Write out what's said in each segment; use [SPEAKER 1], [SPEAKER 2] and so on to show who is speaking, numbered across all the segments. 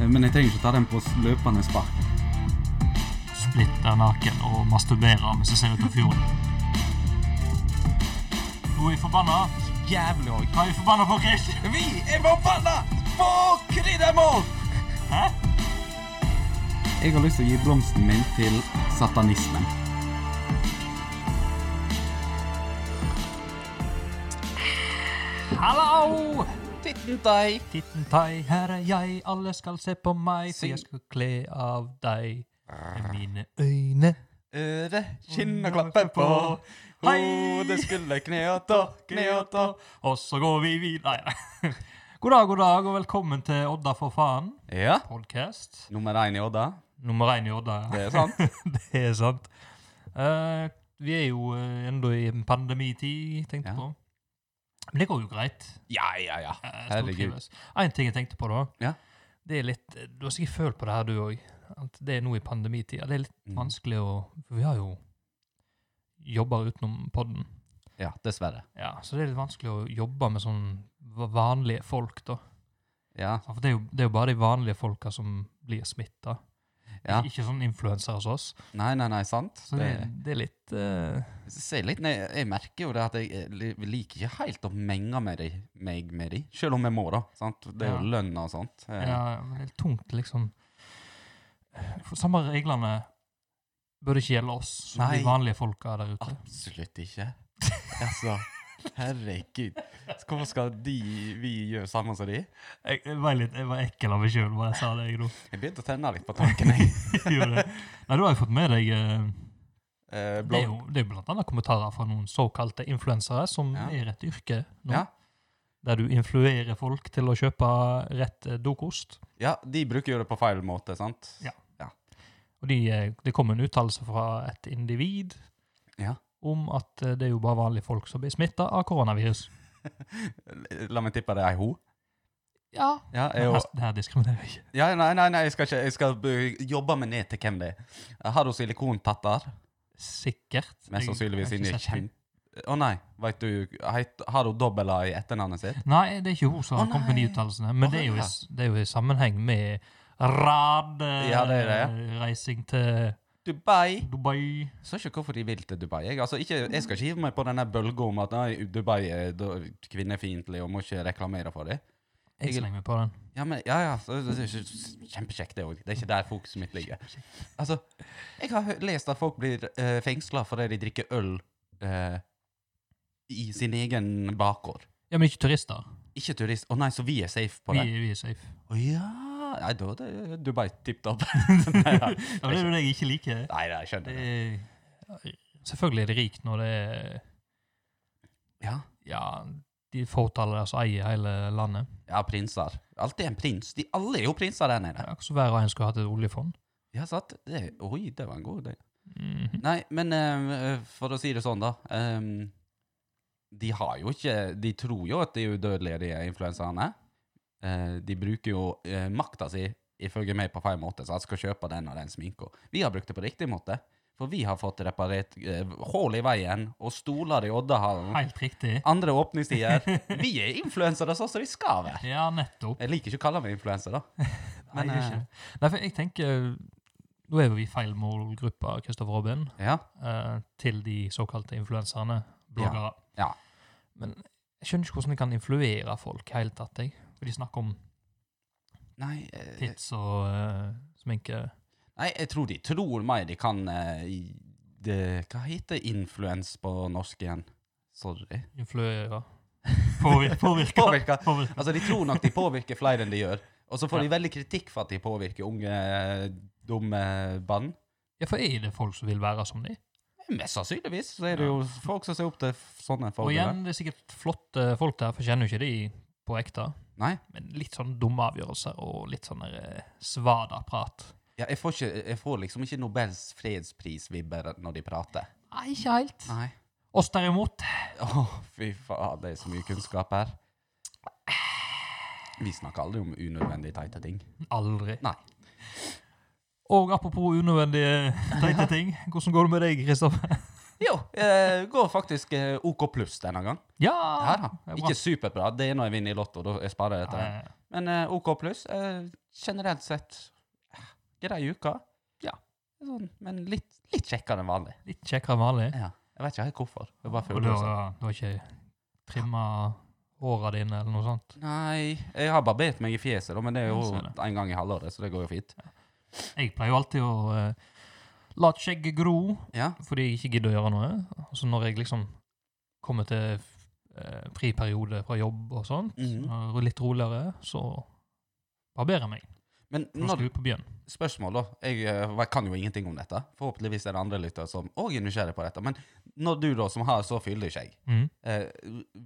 [SPEAKER 1] Eh, men jeg trenger ikke ta den på s- løpende spark.
[SPEAKER 2] splitter naken og masturberer mens jeg ser ut av fjorden. Nå er jeg forbanna.
[SPEAKER 3] Jævlig òg.
[SPEAKER 2] Hva er jeg forbanna på, Chris?
[SPEAKER 3] Vi er forbanna på kryddermål!
[SPEAKER 2] Hæ?
[SPEAKER 1] Jeg har lyst til å gi blomsten min til satanismen.
[SPEAKER 2] Hallo!
[SPEAKER 3] Titten deg.
[SPEAKER 2] Titten tai, her er jeg, alle skal se på meg, for
[SPEAKER 3] Syng.
[SPEAKER 2] jeg skal kle av deg
[SPEAKER 3] Ah.
[SPEAKER 2] med mine øyne.
[SPEAKER 3] Øre, kinn og klappe på.
[SPEAKER 2] Hei!
[SPEAKER 3] Hodet, skulle kne og tå, kne og tå.
[SPEAKER 2] Og så går vi videre. Nei. God dag, god dag, og velkommen til Odda for faen
[SPEAKER 3] Ja.
[SPEAKER 2] podcast.
[SPEAKER 1] Nummer én i Odda.
[SPEAKER 2] Nummer én i Odda.
[SPEAKER 3] Det er sant.
[SPEAKER 2] Det er sant. Eh, vi er jo eh, enda i en pandemitid, tenkte
[SPEAKER 1] Ja.
[SPEAKER 2] jeg på. Men det går jo greit. Eh,
[SPEAKER 3] Ja, ja, ja. Herregud.
[SPEAKER 2] Én ting jeg tenkte på, da.
[SPEAKER 1] Ja.
[SPEAKER 2] Det er litt, Du har sikkert følt på det her, du òg. At det er nå i pandemitida. Det er litt
[SPEAKER 1] Mm.
[SPEAKER 2] vanskelig å For vi har jo jobber utenom podden.
[SPEAKER 1] Ja, dessverre.
[SPEAKER 2] Ja, så det er litt vanskelig å jobbe med sånn va- vanlige folk, da.
[SPEAKER 1] Ja,
[SPEAKER 2] For det er jo, det er jo bare de vanlige folka som blir smitta.
[SPEAKER 1] ja.
[SPEAKER 2] Ikke sånn influensere hos oss.
[SPEAKER 1] Nei, nei, nei, sant.
[SPEAKER 2] Så det,
[SPEAKER 1] Det,
[SPEAKER 2] det er litt eh,
[SPEAKER 1] se litt ned. Jeg merker jo det at jeg eh, li- liker ikke helt å menge med de, meg med de. Selv om jeg må, da. sant? Det er jo lønn og sånt. Eh,
[SPEAKER 2] Ja, men det er litt tungt, liksom. For Samme reglene burde ikke gjelde oss, som
[SPEAKER 1] Nei. Ah.
[SPEAKER 2] de vanlige folka der ute.
[SPEAKER 1] Absolutt ikke. Altså, herregud. Hvorfor skal de vi gjøre samme som de?
[SPEAKER 2] Jeg, jeg, var litt, jeg var ekkel av meg sjøl da jeg sa det. jeg nå.
[SPEAKER 1] Jeg begynte å tenne litt på tanken, jeg.
[SPEAKER 2] Gjorde det. Nei, da har jeg fått med deg eh,
[SPEAKER 1] Eh,
[SPEAKER 2] Det
[SPEAKER 1] blå-
[SPEAKER 2] er jo det er jo blant annet kommentarer fra noen såkalte influensere, som
[SPEAKER 1] Ja.
[SPEAKER 2] er et yrke nå.
[SPEAKER 1] Ja.
[SPEAKER 2] Der du influerer folk til å kjøpe rett eh, dokost.
[SPEAKER 1] Ja, de bruker jo det på feil måte, sant?
[SPEAKER 2] Ja. Og de, eh, det kom en uttalelse fra et individ
[SPEAKER 1] Ja.
[SPEAKER 2] om at eh, det er jo bare vanlige folk som blir smitta av koronavirus.
[SPEAKER 1] La meg tippe det er ei ho.
[SPEAKER 2] Ja,
[SPEAKER 1] Ja, jeg,
[SPEAKER 2] Men
[SPEAKER 1] jo-
[SPEAKER 2] her, det her diskriminerer jeg ikke.
[SPEAKER 1] ja, nei, nei, nei, jeg skal ikke Jeg skal b- jobbe meg ned til hvem det er. Har hun silikontatter?
[SPEAKER 2] Sikkert.
[SPEAKER 1] Mest
[SPEAKER 2] Jeg-
[SPEAKER 1] sannsynligvis
[SPEAKER 2] jeg har
[SPEAKER 1] inni
[SPEAKER 2] ikke sett
[SPEAKER 1] kjempe... Å nei, veit du heit- Har hun dobbel A i etternavnet sitt?
[SPEAKER 2] det. Nei, det er ikke hun som har
[SPEAKER 1] Å,
[SPEAKER 2] kommet med de
[SPEAKER 1] nei.
[SPEAKER 2] uttalelsene. Men
[SPEAKER 1] Å,
[SPEAKER 2] det er, jo i,
[SPEAKER 1] ja.
[SPEAKER 2] s- det er jo i sammenheng med radreising
[SPEAKER 1] Ja, det er
[SPEAKER 2] Reising til
[SPEAKER 1] Dubai.
[SPEAKER 2] Dubai.
[SPEAKER 1] Så ikke hvorfor de vil til Dubai. Jeg, altså, ikke, jeg skal ikke hive meg på denne bølga om at nei, Dubai er da- kvinnefiendtlig og må ikke reklamere for dem.
[SPEAKER 2] Jeg
[SPEAKER 1] Jeg-
[SPEAKER 2] slenger meg på den.
[SPEAKER 1] Ja, men, ja, ja, så, det er ikke- kjempekjekt det òg. Det er ikke der fokuset mitt ligger. Altså, jeg har hø- lest at folk blir uh, fengsla fordi de drikker øl eh, i sin egen bakgård.
[SPEAKER 2] Ja, men ikke turister.
[SPEAKER 1] Ikke turist. Å nei, så vi er safe på
[SPEAKER 2] Vi,
[SPEAKER 1] det?
[SPEAKER 2] vi er safe.
[SPEAKER 1] Å ja! Nei, da er det Dubai tipp topp.
[SPEAKER 2] ja, det er jo det jeg ikke liker.
[SPEAKER 1] Nei, nei, jeg
[SPEAKER 2] Det
[SPEAKER 1] skjønner det.
[SPEAKER 2] er, selvfølgelig er det rikt når det er
[SPEAKER 1] Ja,
[SPEAKER 2] ja, de fåtallet der som eier hele landet.
[SPEAKER 1] ja prinser. Alltid en prins. De alle er jo prinser der nede.
[SPEAKER 2] Ja, så hver og en skulle hatt et oljefond.
[SPEAKER 1] Ja, sant? Det, oi, det var en god idé.
[SPEAKER 2] Mhm.
[SPEAKER 1] Nei, men eh, for å si det sånn, da. eh, de har jo ikke De tror jo at de er udødelige, de influenserne. Eh, de bruker jo uh, makta si, ifølge meg, på feil måte, så jeg skal kjøpe den og den sminka. Vi har brukt det på riktig måte. For vi har fått reparert eh, hull i veien og stoler i Oddahallen.
[SPEAKER 2] Helt riktig.
[SPEAKER 1] Andre åpningstider. Vi er influensere sånn som vi skal være.
[SPEAKER 2] Ja, nettopp.
[SPEAKER 1] Jeg liker ikke å kalle meg influenser, da. Men,
[SPEAKER 2] Nei, det er ikke.
[SPEAKER 1] eh,
[SPEAKER 2] det. Nei, for jeg tenker Nå er jo vi i feil målgruppe, Kristoffer Robin,
[SPEAKER 1] ja.
[SPEAKER 2] eh, til de såkalte influenserne, bloggere.
[SPEAKER 1] Ja.
[SPEAKER 2] Men jeg skjønner ikke hvordan de kan influere folk i hele tatt, jeg. For de snakker om
[SPEAKER 1] Nei, eh,
[SPEAKER 2] tits og eh, sminke.
[SPEAKER 1] Nei, jeg tror de tror meg de kan eh, i- det, Hva heter influens på norsk igjen? Sorry.
[SPEAKER 2] Influere. Påvirke. Påvirke.
[SPEAKER 1] Påvirke.
[SPEAKER 2] Påvirke.
[SPEAKER 1] Altså, de tror nok de påvirker flere enn de gjør. Og så får
[SPEAKER 2] Ja.
[SPEAKER 1] de veldig kritikk for at de påvirker unge, eh, dumme barn.
[SPEAKER 2] Ja, for er det folk som vil være som de?
[SPEAKER 1] Mest sannsynligvis så er det jo folk som ser opp til f- sånne
[SPEAKER 2] Og
[SPEAKER 1] forbilder.
[SPEAKER 2] igjen, det er sikkert flotte folk der, for jeg kjenner jo ikke de på ekte.
[SPEAKER 1] Nei.
[SPEAKER 2] Men litt sånn dumme avgjørelser og litt sånn der, eh, svada-prat.
[SPEAKER 1] Ja, jeg, får ikke, jeg får liksom ikke Nobels fredspris-vibber når de prater.
[SPEAKER 2] Nei, ikke helt.
[SPEAKER 1] Nei.
[SPEAKER 2] Oss derimot,
[SPEAKER 1] Å, fy faen, det er så mye kunnskap her. Vi snakker aldri om unødvendig teite ting.
[SPEAKER 2] Aldri.
[SPEAKER 1] Nei.
[SPEAKER 2] Og apropos unødvendige teite ting, hvordan går det med deg, Kristoffer?
[SPEAKER 1] Jo, eh, går faktisk eh, OK pluss denne gang.
[SPEAKER 2] Ja!
[SPEAKER 1] Ja da.
[SPEAKER 2] Det er bra. Ah.
[SPEAKER 1] Ikke superbra. Det er når jeg vinner i Lotto. Da jeg sparer jeg etter det.
[SPEAKER 2] Nei,
[SPEAKER 1] Men eh, OK pluss. Eh, generelt sett eh, grei uke. Ja. Sånn, men litt, litt kjekkere enn vanlig.
[SPEAKER 2] Litt kjekkere enn vanlig.
[SPEAKER 1] Ja. Jeg vet ikke helt hvorfor. Det bare
[SPEAKER 2] Og
[SPEAKER 1] føles
[SPEAKER 2] du
[SPEAKER 1] sånn.
[SPEAKER 2] har, du har ikke trimma håra dine eller noe sånt?
[SPEAKER 1] Nei, jeg har barbert meg i fjeset, da, men det er jo
[SPEAKER 2] Ja, så er det.
[SPEAKER 1] en gang i halvåret, så det går jo fint.
[SPEAKER 2] Jeg pleier jo alltid å uh, la skjegget gro
[SPEAKER 1] Ja,
[SPEAKER 2] fordi jeg ikke gidder å gjøre noe. Og så når jeg liksom kommer til eh, fri periode fra jobb og sånt,
[SPEAKER 1] Mhm.
[SPEAKER 2] og litt roligere, så barberer jeg meg.
[SPEAKER 1] Men
[SPEAKER 2] Nå
[SPEAKER 1] når,
[SPEAKER 2] skal vi på byen.
[SPEAKER 1] spørsmål, da. Jeg eh, kan jo ingenting om dette. Forhåpentligvis er det andre lyttere som òg er nysgjerrig på dette. Men når du, da, som har så fyldig skjegg
[SPEAKER 2] Mhm.
[SPEAKER 1] eh,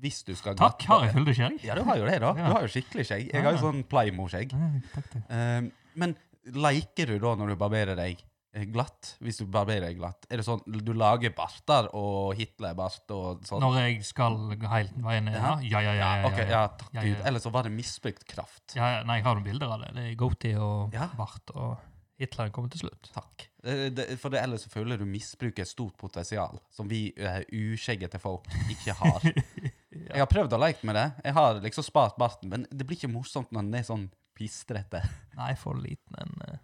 [SPEAKER 1] Hvis du skal
[SPEAKER 2] Takk, har jeg fyldig skjegg?
[SPEAKER 1] Ja, du har jo det, da.
[SPEAKER 2] Ja.
[SPEAKER 1] Du har jo skikkelig skjegg. Jeg har jo sånn Playmo-skjegg.
[SPEAKER 2] Nei, takk, takk.
[SPEAKER 1] Eh, men leker du da når du barberer deg eh, glatt? Hvis du barberer deg glatt, er det sånn du lager barter og Hitler-bart og sånn?
[SPEAKER 2] Når jeg skal gå helt veien ned, ja? Ja, ja, ja. ja, ja,
[SPEAKER 1] Ok, ja, takk
[SPEAKER 2] Ja, ja,
[SPEAKER 1] Gud.
[SPEAKER 2] ja.
[SPEAKER 1] Ellers så var det misbrukt kraft.
[SPEAKER 2] Ja, ja, nei, jeg har noen bilder av det. Det er Goatee og
[SPEAKER 1] Ja.
[SPEAKER 2] bart, og Hitler kommer til slutt.
[SPEAKER 1] Takk. Eh, det- For det, ellers så føler du misbruker et stort potensial som vi eh, uskjeggete folk ikke har. Jeg har prøvd å leke med det. Jeg har liksom spart barten, men det blir ikke morsomt når den er sånn pistrete.
[SPEAKER 2] Nei, for liten en eh.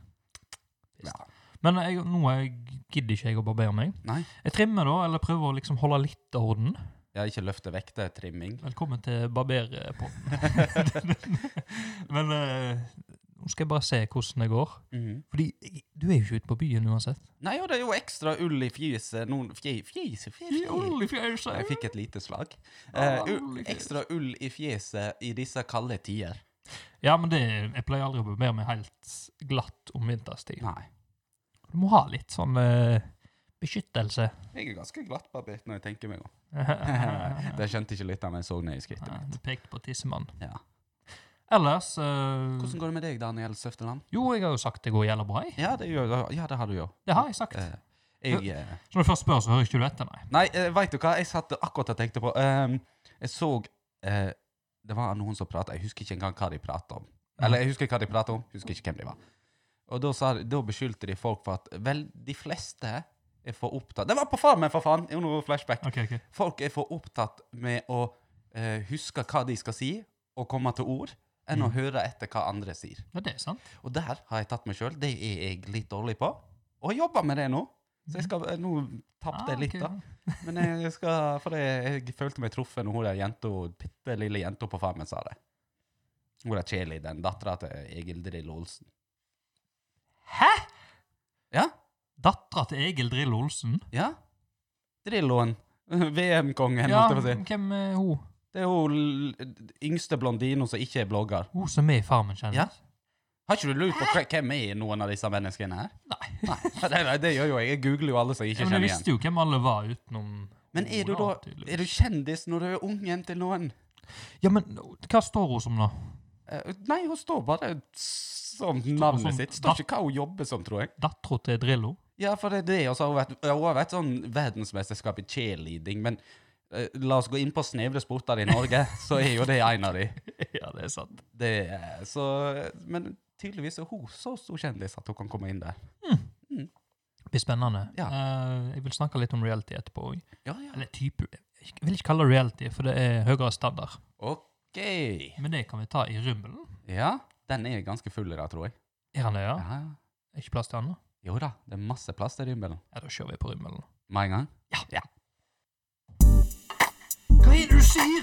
[SPEAKER 1] Ja.
[SPEAKER 2] Men jeg, nå er jeg, gidder ikke jeg å barbere meg.
[SPEAKER 1] Nei.
[SPEAKER 2] Jeg trimmer da, eller prøver å liksom holde litt orden.
[SPEAKER 1] Jeg har ikke løftet vekter, trimming.
[SPEAKER 2] Velkommen til barberpodden. Men eh, nå skal jeg bare se hvordan det går.
[SPEAKER 1] Mhm.
[SPEAKER 2] Fordi jeg- du er jo ikke ute på byen uansett.
[SPEAKER 1] Nei, og det er jo ekstra ull i fjeset. Noen fje, fjes, fjes, fjes. Jeg fikk et lite slag. Eh, u- ekstra ull i fjeset i disse kalde tider.
[SPEAKER 2] Ja, men det, jeg pleier aldri å barbere meg helt glatt om vinterstid.
[SPEAKER 1] Nei.
[SPEAKER 2] Du må ha litt sånn eh, beskyttelse.
[SPEAKER 1] Jeg er ganske glatt barbert når jeg tenker meg om.
[SPEAKER 2] Nei,
[SPEAKER 1] Det skjønte ikke lytteren, men jeg så ned i skrittet mitt.
[SPEAKER 2] Du pekte på tissemann.
[SPEAKER 1] Ja.
[SPEAKER 2] Ellers eh,
[SPEAKER 1] Hvordan går det med deg, Daniel Søfteland?
[SPEAKER 2] Jo, jeg har jo sagt det går jævla bra. jeg.
[SPEAKER 1] Ja, det, gjør, ja, det har du jo.
[SPEAKER 2] Det har jeg sagt.
[SPEAKER 1] Eh, jeg eh,
[SPEAKER 2] Så når du først spør, så hører ikke du etter, nei.
[SPEAKER 1] Nei, eh, veit du hva? Jeg satt akkurat og tenkte på ehm, Jeg så eh, Det var noen som prata, jeg husker ikke engang hva de prata om. Eller jeg husker hva de prata om, husker ikke hvem de var. Og da, sa, de- da beskyldte de folk for at Vel, de fleste er for opptatt Det var på Farmen, for faen! Jo, noe flashback.
[SPEAKER 2] Ok, ok.
[SPEAKER 1] Folk er for opptatt med å eh, huske hva de skal si, og komme til ord, enn å høre etter hva andre sier.
[SPEAKER 2] Ja, det er sant.
[SPEAKER 1] Og der har jeg tatt meg sjøl. Det er jeg litt dårlig på. Og jeg jobber med det nå. Så jeg skal eh, Nå tapte jeg
[SPEAKER 2] Ah,
[SPEAKER 1] litt, eh,
[SPEAKER 2] ok.
[SPEAKER 1] da. Men jeg- jeg skal For jeg, jeg følte meg truffet når hun der jenta, bitte lille jenta på Farmen sa det. Hun der Kjeli, den dattera til Egil Drillo Olsen.
[SPEAKER 2] Hæ?!
[SPEAKER 1] Ja?
[SPEAKER 2] Dattera til Egil Drillo Olsen?
[SPEAKER 1] Ja? Drilloen. VM-kongen,
[SPEAKER 2] Ja,
[SPEAKER 1] holdt jeg på å si.
[SPEAKER 2] hvem er hun?
[SPEAKER 1] Det er hun l- yngste blondina som ikke er blogger.
[SPEAKER 2] Hun som er i Farmen, kjenner
[SPEAKER 1] Ja.
[SPEAKER 2] jeg.
[SPEAKER 1] Har ikke du lurt på hva- hvem er noen av disse menneskene her?
[SPEAKER 2] Nei.
[SPEAKER 1] Nei, det, det gjør jo jeg. Jeg googler jo alle som jeg
[SPEAKER 2] Ja,
[SPEAKER 1] ikke
[SPEAKER 2] men jeg
[SPEAKER 1] kjenner igjen.
[SPEAKER 2] visste jo hvem alle var utenom
[SPEAKER 1] Men er du da er du kjendis når du er ungen til noen?
[SPEAKER 2] Ja, men hva står hun som, da?
[SPEAKER 1] Eh, Nei, hun står bare som navnet
[SPEAKER 2] som
[SPEAKER 1] sitt. Står ikke hva hun jobber som, tror jeg.
[SPEAKER 2] Dattera til Drillo?
[SPEAKER 1] Ja, for det er det. Og så har hun vært, hun har vært sånn verdensmesterskap i cheerleading. Men eh, la oss gå inn på snevre sporter i Norge, så er jo det en av de.
[SPEAKER 2] ja, det er sant.
[SPEAKER 1] Det er, så, men tydeligvis er hun så stor kjendis at hun kan komme inn der.
[SPEAKER 2] Det blir spennende.
[SPEAKER 1] Ja.
[SPEAKER 2] Eh, jeg vil snakke litt om reality etterpå òg.
[SPEAKER 1] Ja, ja.
[SPEAKER 2] Eller type Jeg vil ikke kalle det reality, for det er høyere standard.
[SPEAKER 1] OK.
[SPEAKER 2] Men det kan vi ta i rummelen.
[SPEAKER 1] Ja, den er ganske full i dag, tror jeg.
[SPEAKER 2] Er han det, ja?
[SPEAKER 1] Ja.
[SPEAKER 2] Er ikke plass til han, da?
[SPEAKER 1] Jo da, det er masse plass til rymmelen.
[SPEAKER 2] Ja, da kjører vi på rummelen.
[SPEAKER 1] Med en gang.
[SPEAKER 2] Ja. Hva er det du sier?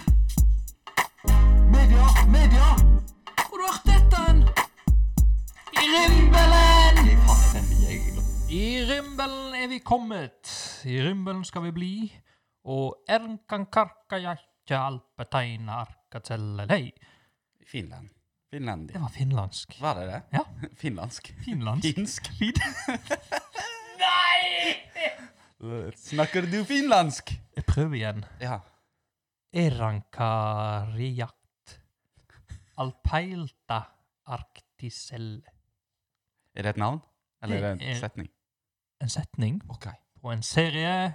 [SPEAKER 2] Media, media! Hvor har du hørt dette hen? I rimbelen! I rimbelen er vi kommet. I rimbelen skal vi bli. Og ernkan karkajakja alpeteina arkatsellelei.
[SPEAKER 1] Finland. Finlandia.
[SPEAKER 2] Det var finlandsk.
[SPEAKER 1] Var det det?
[SPEAKER 2] Ja.
[SPEAKER 1] Finlandsk.
[SPEAKER 2] Finlandsk?
[SPEAKER 1] Finsk.
[SPEAKER 2] Nei!
[SPEAKER 1] Snakker du finlandsk?
[SPEAKER 2] Jeg prøver igjen.
[SPEAKER 1] Ja.
[SPEAKER 2] Erankariakt alpeilta arktisell.
[SPEAKER 1] Er det et navn? Eller er
[SPEAKER 2] Det
[SPEAKER 1] det en
[SPEAKER 2] er-
[SPEAKER 1] setning?
[SPEAKER 2] En setning
[SPEAKER 1] OK.
[SPEAKER 2] på en serie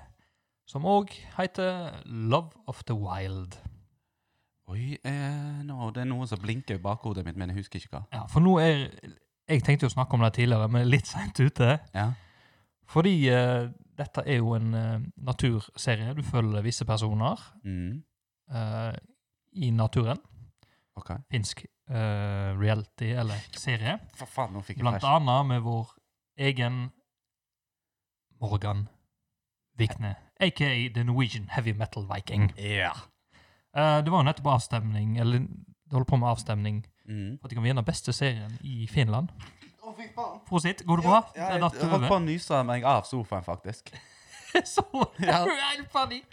[SPEAKER 2] som òg heter Love of the Wild.
[SPEAKER 1] Oi, eh, nå, det er noe som blinker i bakhodet mitt, men jeg husker ikke hva.
[SPEAKER 2] Ja, for nå er Jeg tenkte jo å snakke om det tidligere, men litt seint ute.
[SPEAKER 1] Ja.
[SPEAKER 2] Fordi eh, Dette er jo en eh, naturserie. Du følger visse personer
[SPEAKER 1] Mm.
[SPEAKER 2] eh, i naturen.
[SPEAKER 1] OK.
[SPEAKER 2] Finsk eh, reality eller serie.
[SPEAKER 1] For faen, nå fikk jeg
[SPEAKER 2] Blant
[SPEAKER 1] flash.
[SPEAKER 2] annet med vår egen Morgan Vikne, aka The Norwegian Heavy Metal Viking.
[SPEAKER 1] Ja.
[SPEAKER 2] Eh, det var jo nettopp avstemning, eller det holder på med avstemning,
[SPEAKER 1] Mm.
[SPEAKER 2] for at de kan vinne beste serien i Finland.
[SPEAKER 1] Å, fy faen.
[SPEAKER 2] Prosit, går det bra?
[SPEAKER 1] Ja,
[SPEAKER 2] det
[SPEAKER 1] jeg
[SPEAKER 2] datt du
[SPEAKER 1] jeg holdt
[SPEAKER 2] over.
[SPEAKER 1] på å nyse meg av sofaen, faktisk.
[SPEAKER 2] Så
[SPEAKER 1] Ja.
[SPEAKER 2] du er i panikk.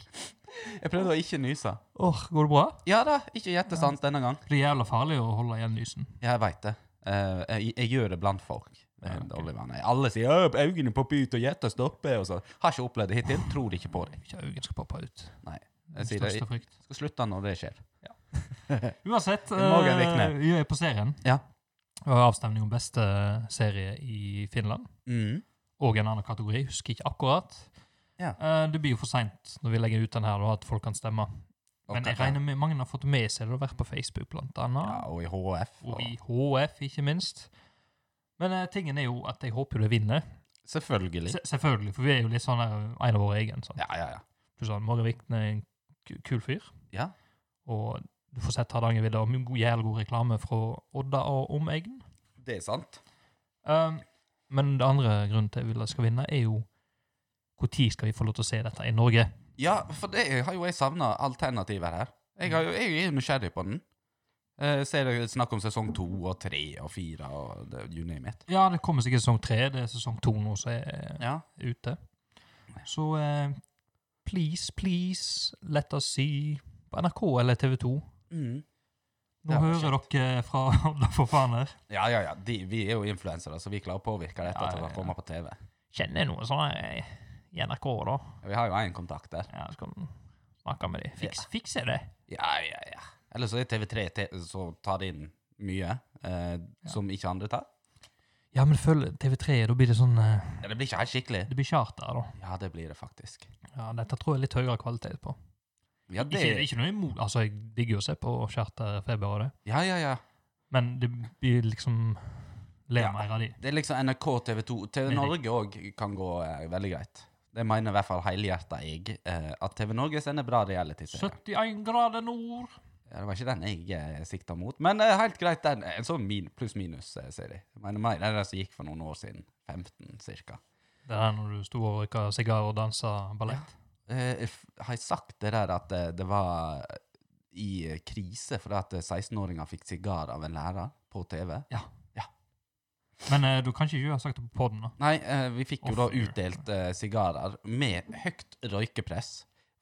[SPEAKER 1] Jeg prøvde å ikke nyse.
[SPEAKER 2] Åh, går det bra?
[SPEAKER 1] Ja da, ikke gjettesans denne gang.
[SPEAKER 2] Det er jævla farlig å holde igjen lysen.
[SPEAKER 1] Jeg veit det. Eh, jeg, jeg gjør det blant folk. Det er
[SPEAKER 2] Ja,
[SPEAKER 1] en
[SPEAKER 2] ok.
[SPEAKER 1] dårlig vane. Alle sier «Ø, 'øynene popper ut og hjertet stopper' og sånn. Har ikke opplevd det hittil. Tror ikke på det.
[SPEAKER 2] Ikke øynene skal poppe ut.
[SPEAKER 1] Nei.
[SPEAKER 2] Den
[SPEAKER 1] Jeg sier det.
[SPEAKER 2] største frykt.
[SPEAKER 1] Jeg skal slutte når det skjer.
[SPEAKER 2] Uansett,
[SPEAKER 1] Morgan Vikne.
[SPEAKER 2] eh, vi er på serien.
[SPEAKER 1] Ja.
[SPEAKER 2] Det var avstemning om beste serie i Finland.
[SPEAKER 1] Mm.
[SPEAKER 2] og en annen kategori. Jeg Husker ikke akkurat.
[SPEAKER 1] Ja.
[SPEAKER 2] Eh, det blir jo for seint når vi legger ut den her, da, at folk kan stemme. Men jeg regner med mange har fått med seg det og vært på Facebook, blant annet.
[SPEAKER 1] ja, Og i HF.
[SPEAKER 2] Og
[SPEAKER 1] Og
[SPEAKER 2] i HF, ikke minst. Men eh, tingen er jo at jeg håper jo det vinner.
[SPEAKER 1] Selvfølgelig.
[SPEAKER 2] Se selvfølgelig, for vi er jo litt sånn der, en av våre egne. Sånn.
[SPEAKER 1] Ja, ja, ja.
[SPEAKER 2] Du sa Morgan Vikne er en ku- kul fyr,
[SPEAKER 1] Ja.
[SPEAKER 2] og du får sett Hardangervidda og mye god- jævlig god reklame fra Odda og omegn.
[SPEAKER 1] Det er sant.
[SPEAKER 2] Um, men det andre grunnen til at jeg vil at jeg skal vinne, er jo når skal vi få lov til å se dette i Norge?
[SPEAKER 1] Ja, for det har jo jeg savna alternativer her. Jeg, har jo, jeg er jo nysgjerrig på den. Eh, ser det snakk om sesong to og tre og fire og det, you name it.
[SPEAKER 2] Ja, det kommer sikkert sesong tre. Det er sesong to nå som er eh,
[SPEAKER 1] Ja.
[SPEAKER 2] ute. Så eh, please, please, let us see på NRK eller TV 2.
[SPEAKER 1] Mm.
[SPEAKER 2] Nå
[SPEAKER 1] Det var
[SPEAKER 2] hører dere fra Odda for faen her.
[SPEAKER 1] Ja, ja, ja. De, vi er jo influensere, så vi klarer å påvirke dette
[SPEAKER 2] Ja,
[SPEAKER 1] til
[SPEAKER 2] ja,
[SPEAKER 1] å
[SPEAKER 2] ja.
[SPEAKER 1] komme på TV.
[SPEAKER 2] Kjenner jeg noe sånn her i NRK, da?
[SPEAKER 1] Vi har jo én kontakt der.
[SPEAKER 2] Ja, så kan vi snakke med dem. Fiks, Fikser jeg det?
[SPEAKER 1] Ja, ja, ja. Eller så er TV3 te- så tar de inn mye eh, som ikke andre tar.
[SPEAKER 2] Ja, men følg TV3, da blir det sånn eh,
[SPEAKER 1] Ja, Det blir ikke helt skikkelig.
[SPEAKER 2] Det blir charter, da.
[SPEAKER 1] Ja, det blir det faktisk.
[SPEAKER 2] Ja, Dette tror jeg er litt høyere kvalitet på.
[SPEAKER 1] Ja,
[SPEAKER 2] Det...
[SPEAKER 1] det
[SPEAKER 2] Ikke, ikke noe imot Altså, jeg digger jo å se på charterfeber og det,
[SPEAKER 1] Ja, ja, ja.
[SPEAKER 2] men det blir liksom
[SPEAKER 1] Ja.
[SPEAKER 2] Ler mer av de.
[SPEAKER 1] Det er liksom NRK, TV 2 TV Norge òg kan gå eh, veldig greit. Det mener i hvert fall helhjerta jeg. Eh, at TV Norge sender bra realityserier.
[SPEAKER 2] 71 grader nord.
[SPEAKER 1] Ja, det var ikke den jeg eh, sikta mot, men eh, helt greit, den. En sånn min, pluss-minus-serie. Jeg mener mer den der som gikk for noen år siden. 15, cirka.
[SPEAKER 2] Det er når du sto og røyka sigar og dansa ballett.
[SPEAKER 1] Eh, f- har jeg sagt det der at eh, det var i eh, krise fordi at eh, 16-åringer fikk sigar av en lærer på TV?
[SPEAKER 2] Men eh, du kan ikke gjøre sagt det på poden, da.
[SPEAKER 1] Nei, eh, vi fikk jo da
[SPEAKER 2] Å, fy.
[SPEAKER 1] utdelt eh, sigarer med høyt røykepress.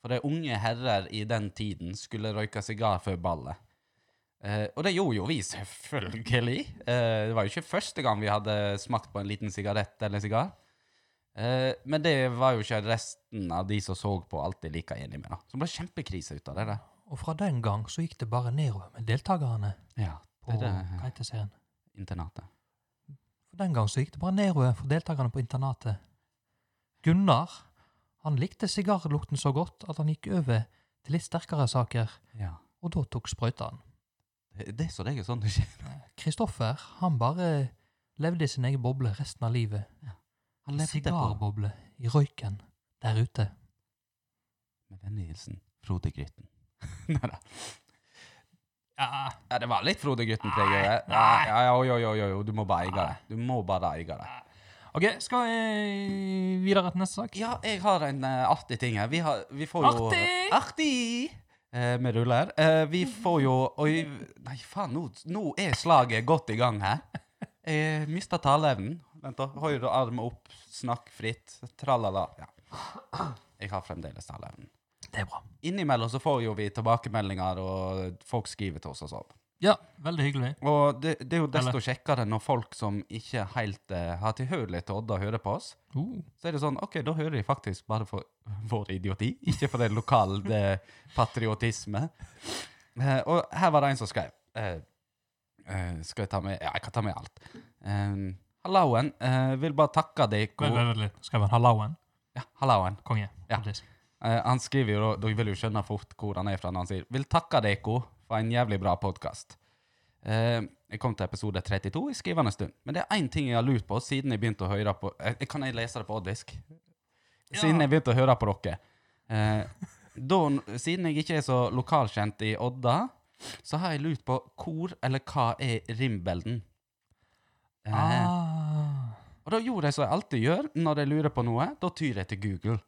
[SPEAKER 1] For de unge herrer i den tiden skulle røyke sigar før ballet. Eh, og det gjorde jo vi, selvfølgelig. Eh, det var jo ikke første gang vi hadde smakt på en liten sigarett eller sigar. Eh, men det var jo ikke resten av de som så på, alltid like enig med. da. Så det ble kjempekrise ut av det der.
[SPEAKER 2] Og fra den gang så gikk det bare nedover med deltakerne
[SPEAKER 1] Ja,
[SPEAKER 2] på
[SPEAKER 1] det er det
[SPEAKER 2] hva heter serien.
[SPEAKER 1] internatet.
[SPEAKER 2] Fra den gang så gikk det bare nedover for deltakerne på internatet. Gunnar han likte sigarlukten så godt at han gikk over til litt sterkere saker,
[SPEAKER 1] Ja.
[SPEAKER 2] og da tok sprøyta han.
[SPEAKER 1] Det det er så det er sånn det skjer.
[SPEAKER 2] Kristoffer han bare levde i sin egen boble resten av livet.
[SPEAKER 1] Han levde på
[SPEAKER 2] Sigarboble i røyken der ute.
[SPEAKER 1] med vennlig hilsen Frode Grytten. Nei da.
[SPEAKER 2] Ja,
[SPEAKER 1] Ja, det var litt Frode Grytten-preg over det. Ja,
[SPEAKER 2] Nei.
[SPEAKER 1] ja, jo, jo, jo, jo, jo, du må bare eie det. Du må bare eie det.
[SPEAKER 2] OK, skal vi videre til neste sak?
[SPEAKER 1] Ja, jeg har en eh, artig ting her. Vi, har, vi får jo
[SPEAKER 2] Artig!
[SPEAKER 1] Artig! Eh, med ruller. Eh, vi får jo Oi, nei, faen, nå, nå er slaget godt i gang her. Jeg mista taleevnen. Vent, da. Høyre arm opp, snakk fritt. Tralala. Ja. Jeg har fremdeles taleevnen.
[SPEAKER 2] Det er bra.
[SPEAKER 1] Innimellom så får jo vi tilbakemeldinger, og folk skriver til oss og sånn.
[SPEAKER 2] Ja, veldig hyggelig.
[SPEAKER 1] Og det, det er jo desto
[SPEAKER 2] Eller-
[SPEAKER 1] kjekkere når folk som ikke helt eh, har tilhørighet til Odda, hører på oss.
[SPEAKER 2] Uh,
[SPEAKER 1] Så er det sånn OK, da hører de faktisk bare for vår idioti, ikke for det lokale det patriotisme. Eh, og her var det en som skrev eh, eh, Skal jeg ta med Ja, jeg kan ta med alt. Eh, Hallauen. eh, vil bare takke dere.
[SPEAKER 2] vent, vent, vent litt. Skal vi ha hallauen?
[SPEAKER 1] Ja, hallauen.
[SPEAKER 2] Konge.
[SPEAKER 1] Ja.
[SPEAKER 2] På disk.
[SPEAKER 1] Eh, han skriver jo da, dere vil jo skjønne fort hvor han er fra når han sier «Vil takke Deko for en jævlig bra podcast». Eh, jeg kom til episode 32 i skrivende stund, men det er en ting jeg har lurt på siden jeg begynte å høre på. Eh, kan jeg lese det på oddisk? siden
[SPEAKER 2] Ja.
[SPEAKER 1] jeg begynte å høre på dere. Eh, da, siden jeg ikke er så lokalkjent i Odda, så har jeg lurt på hvor eller hva er Rimbelden? Eh,
[SPEAKER 2] Ah.
[SPEAKER 1] Og da gjorde jeg som jeg alltid gjør når jeg lurer på noe, da tyr jeg til Google.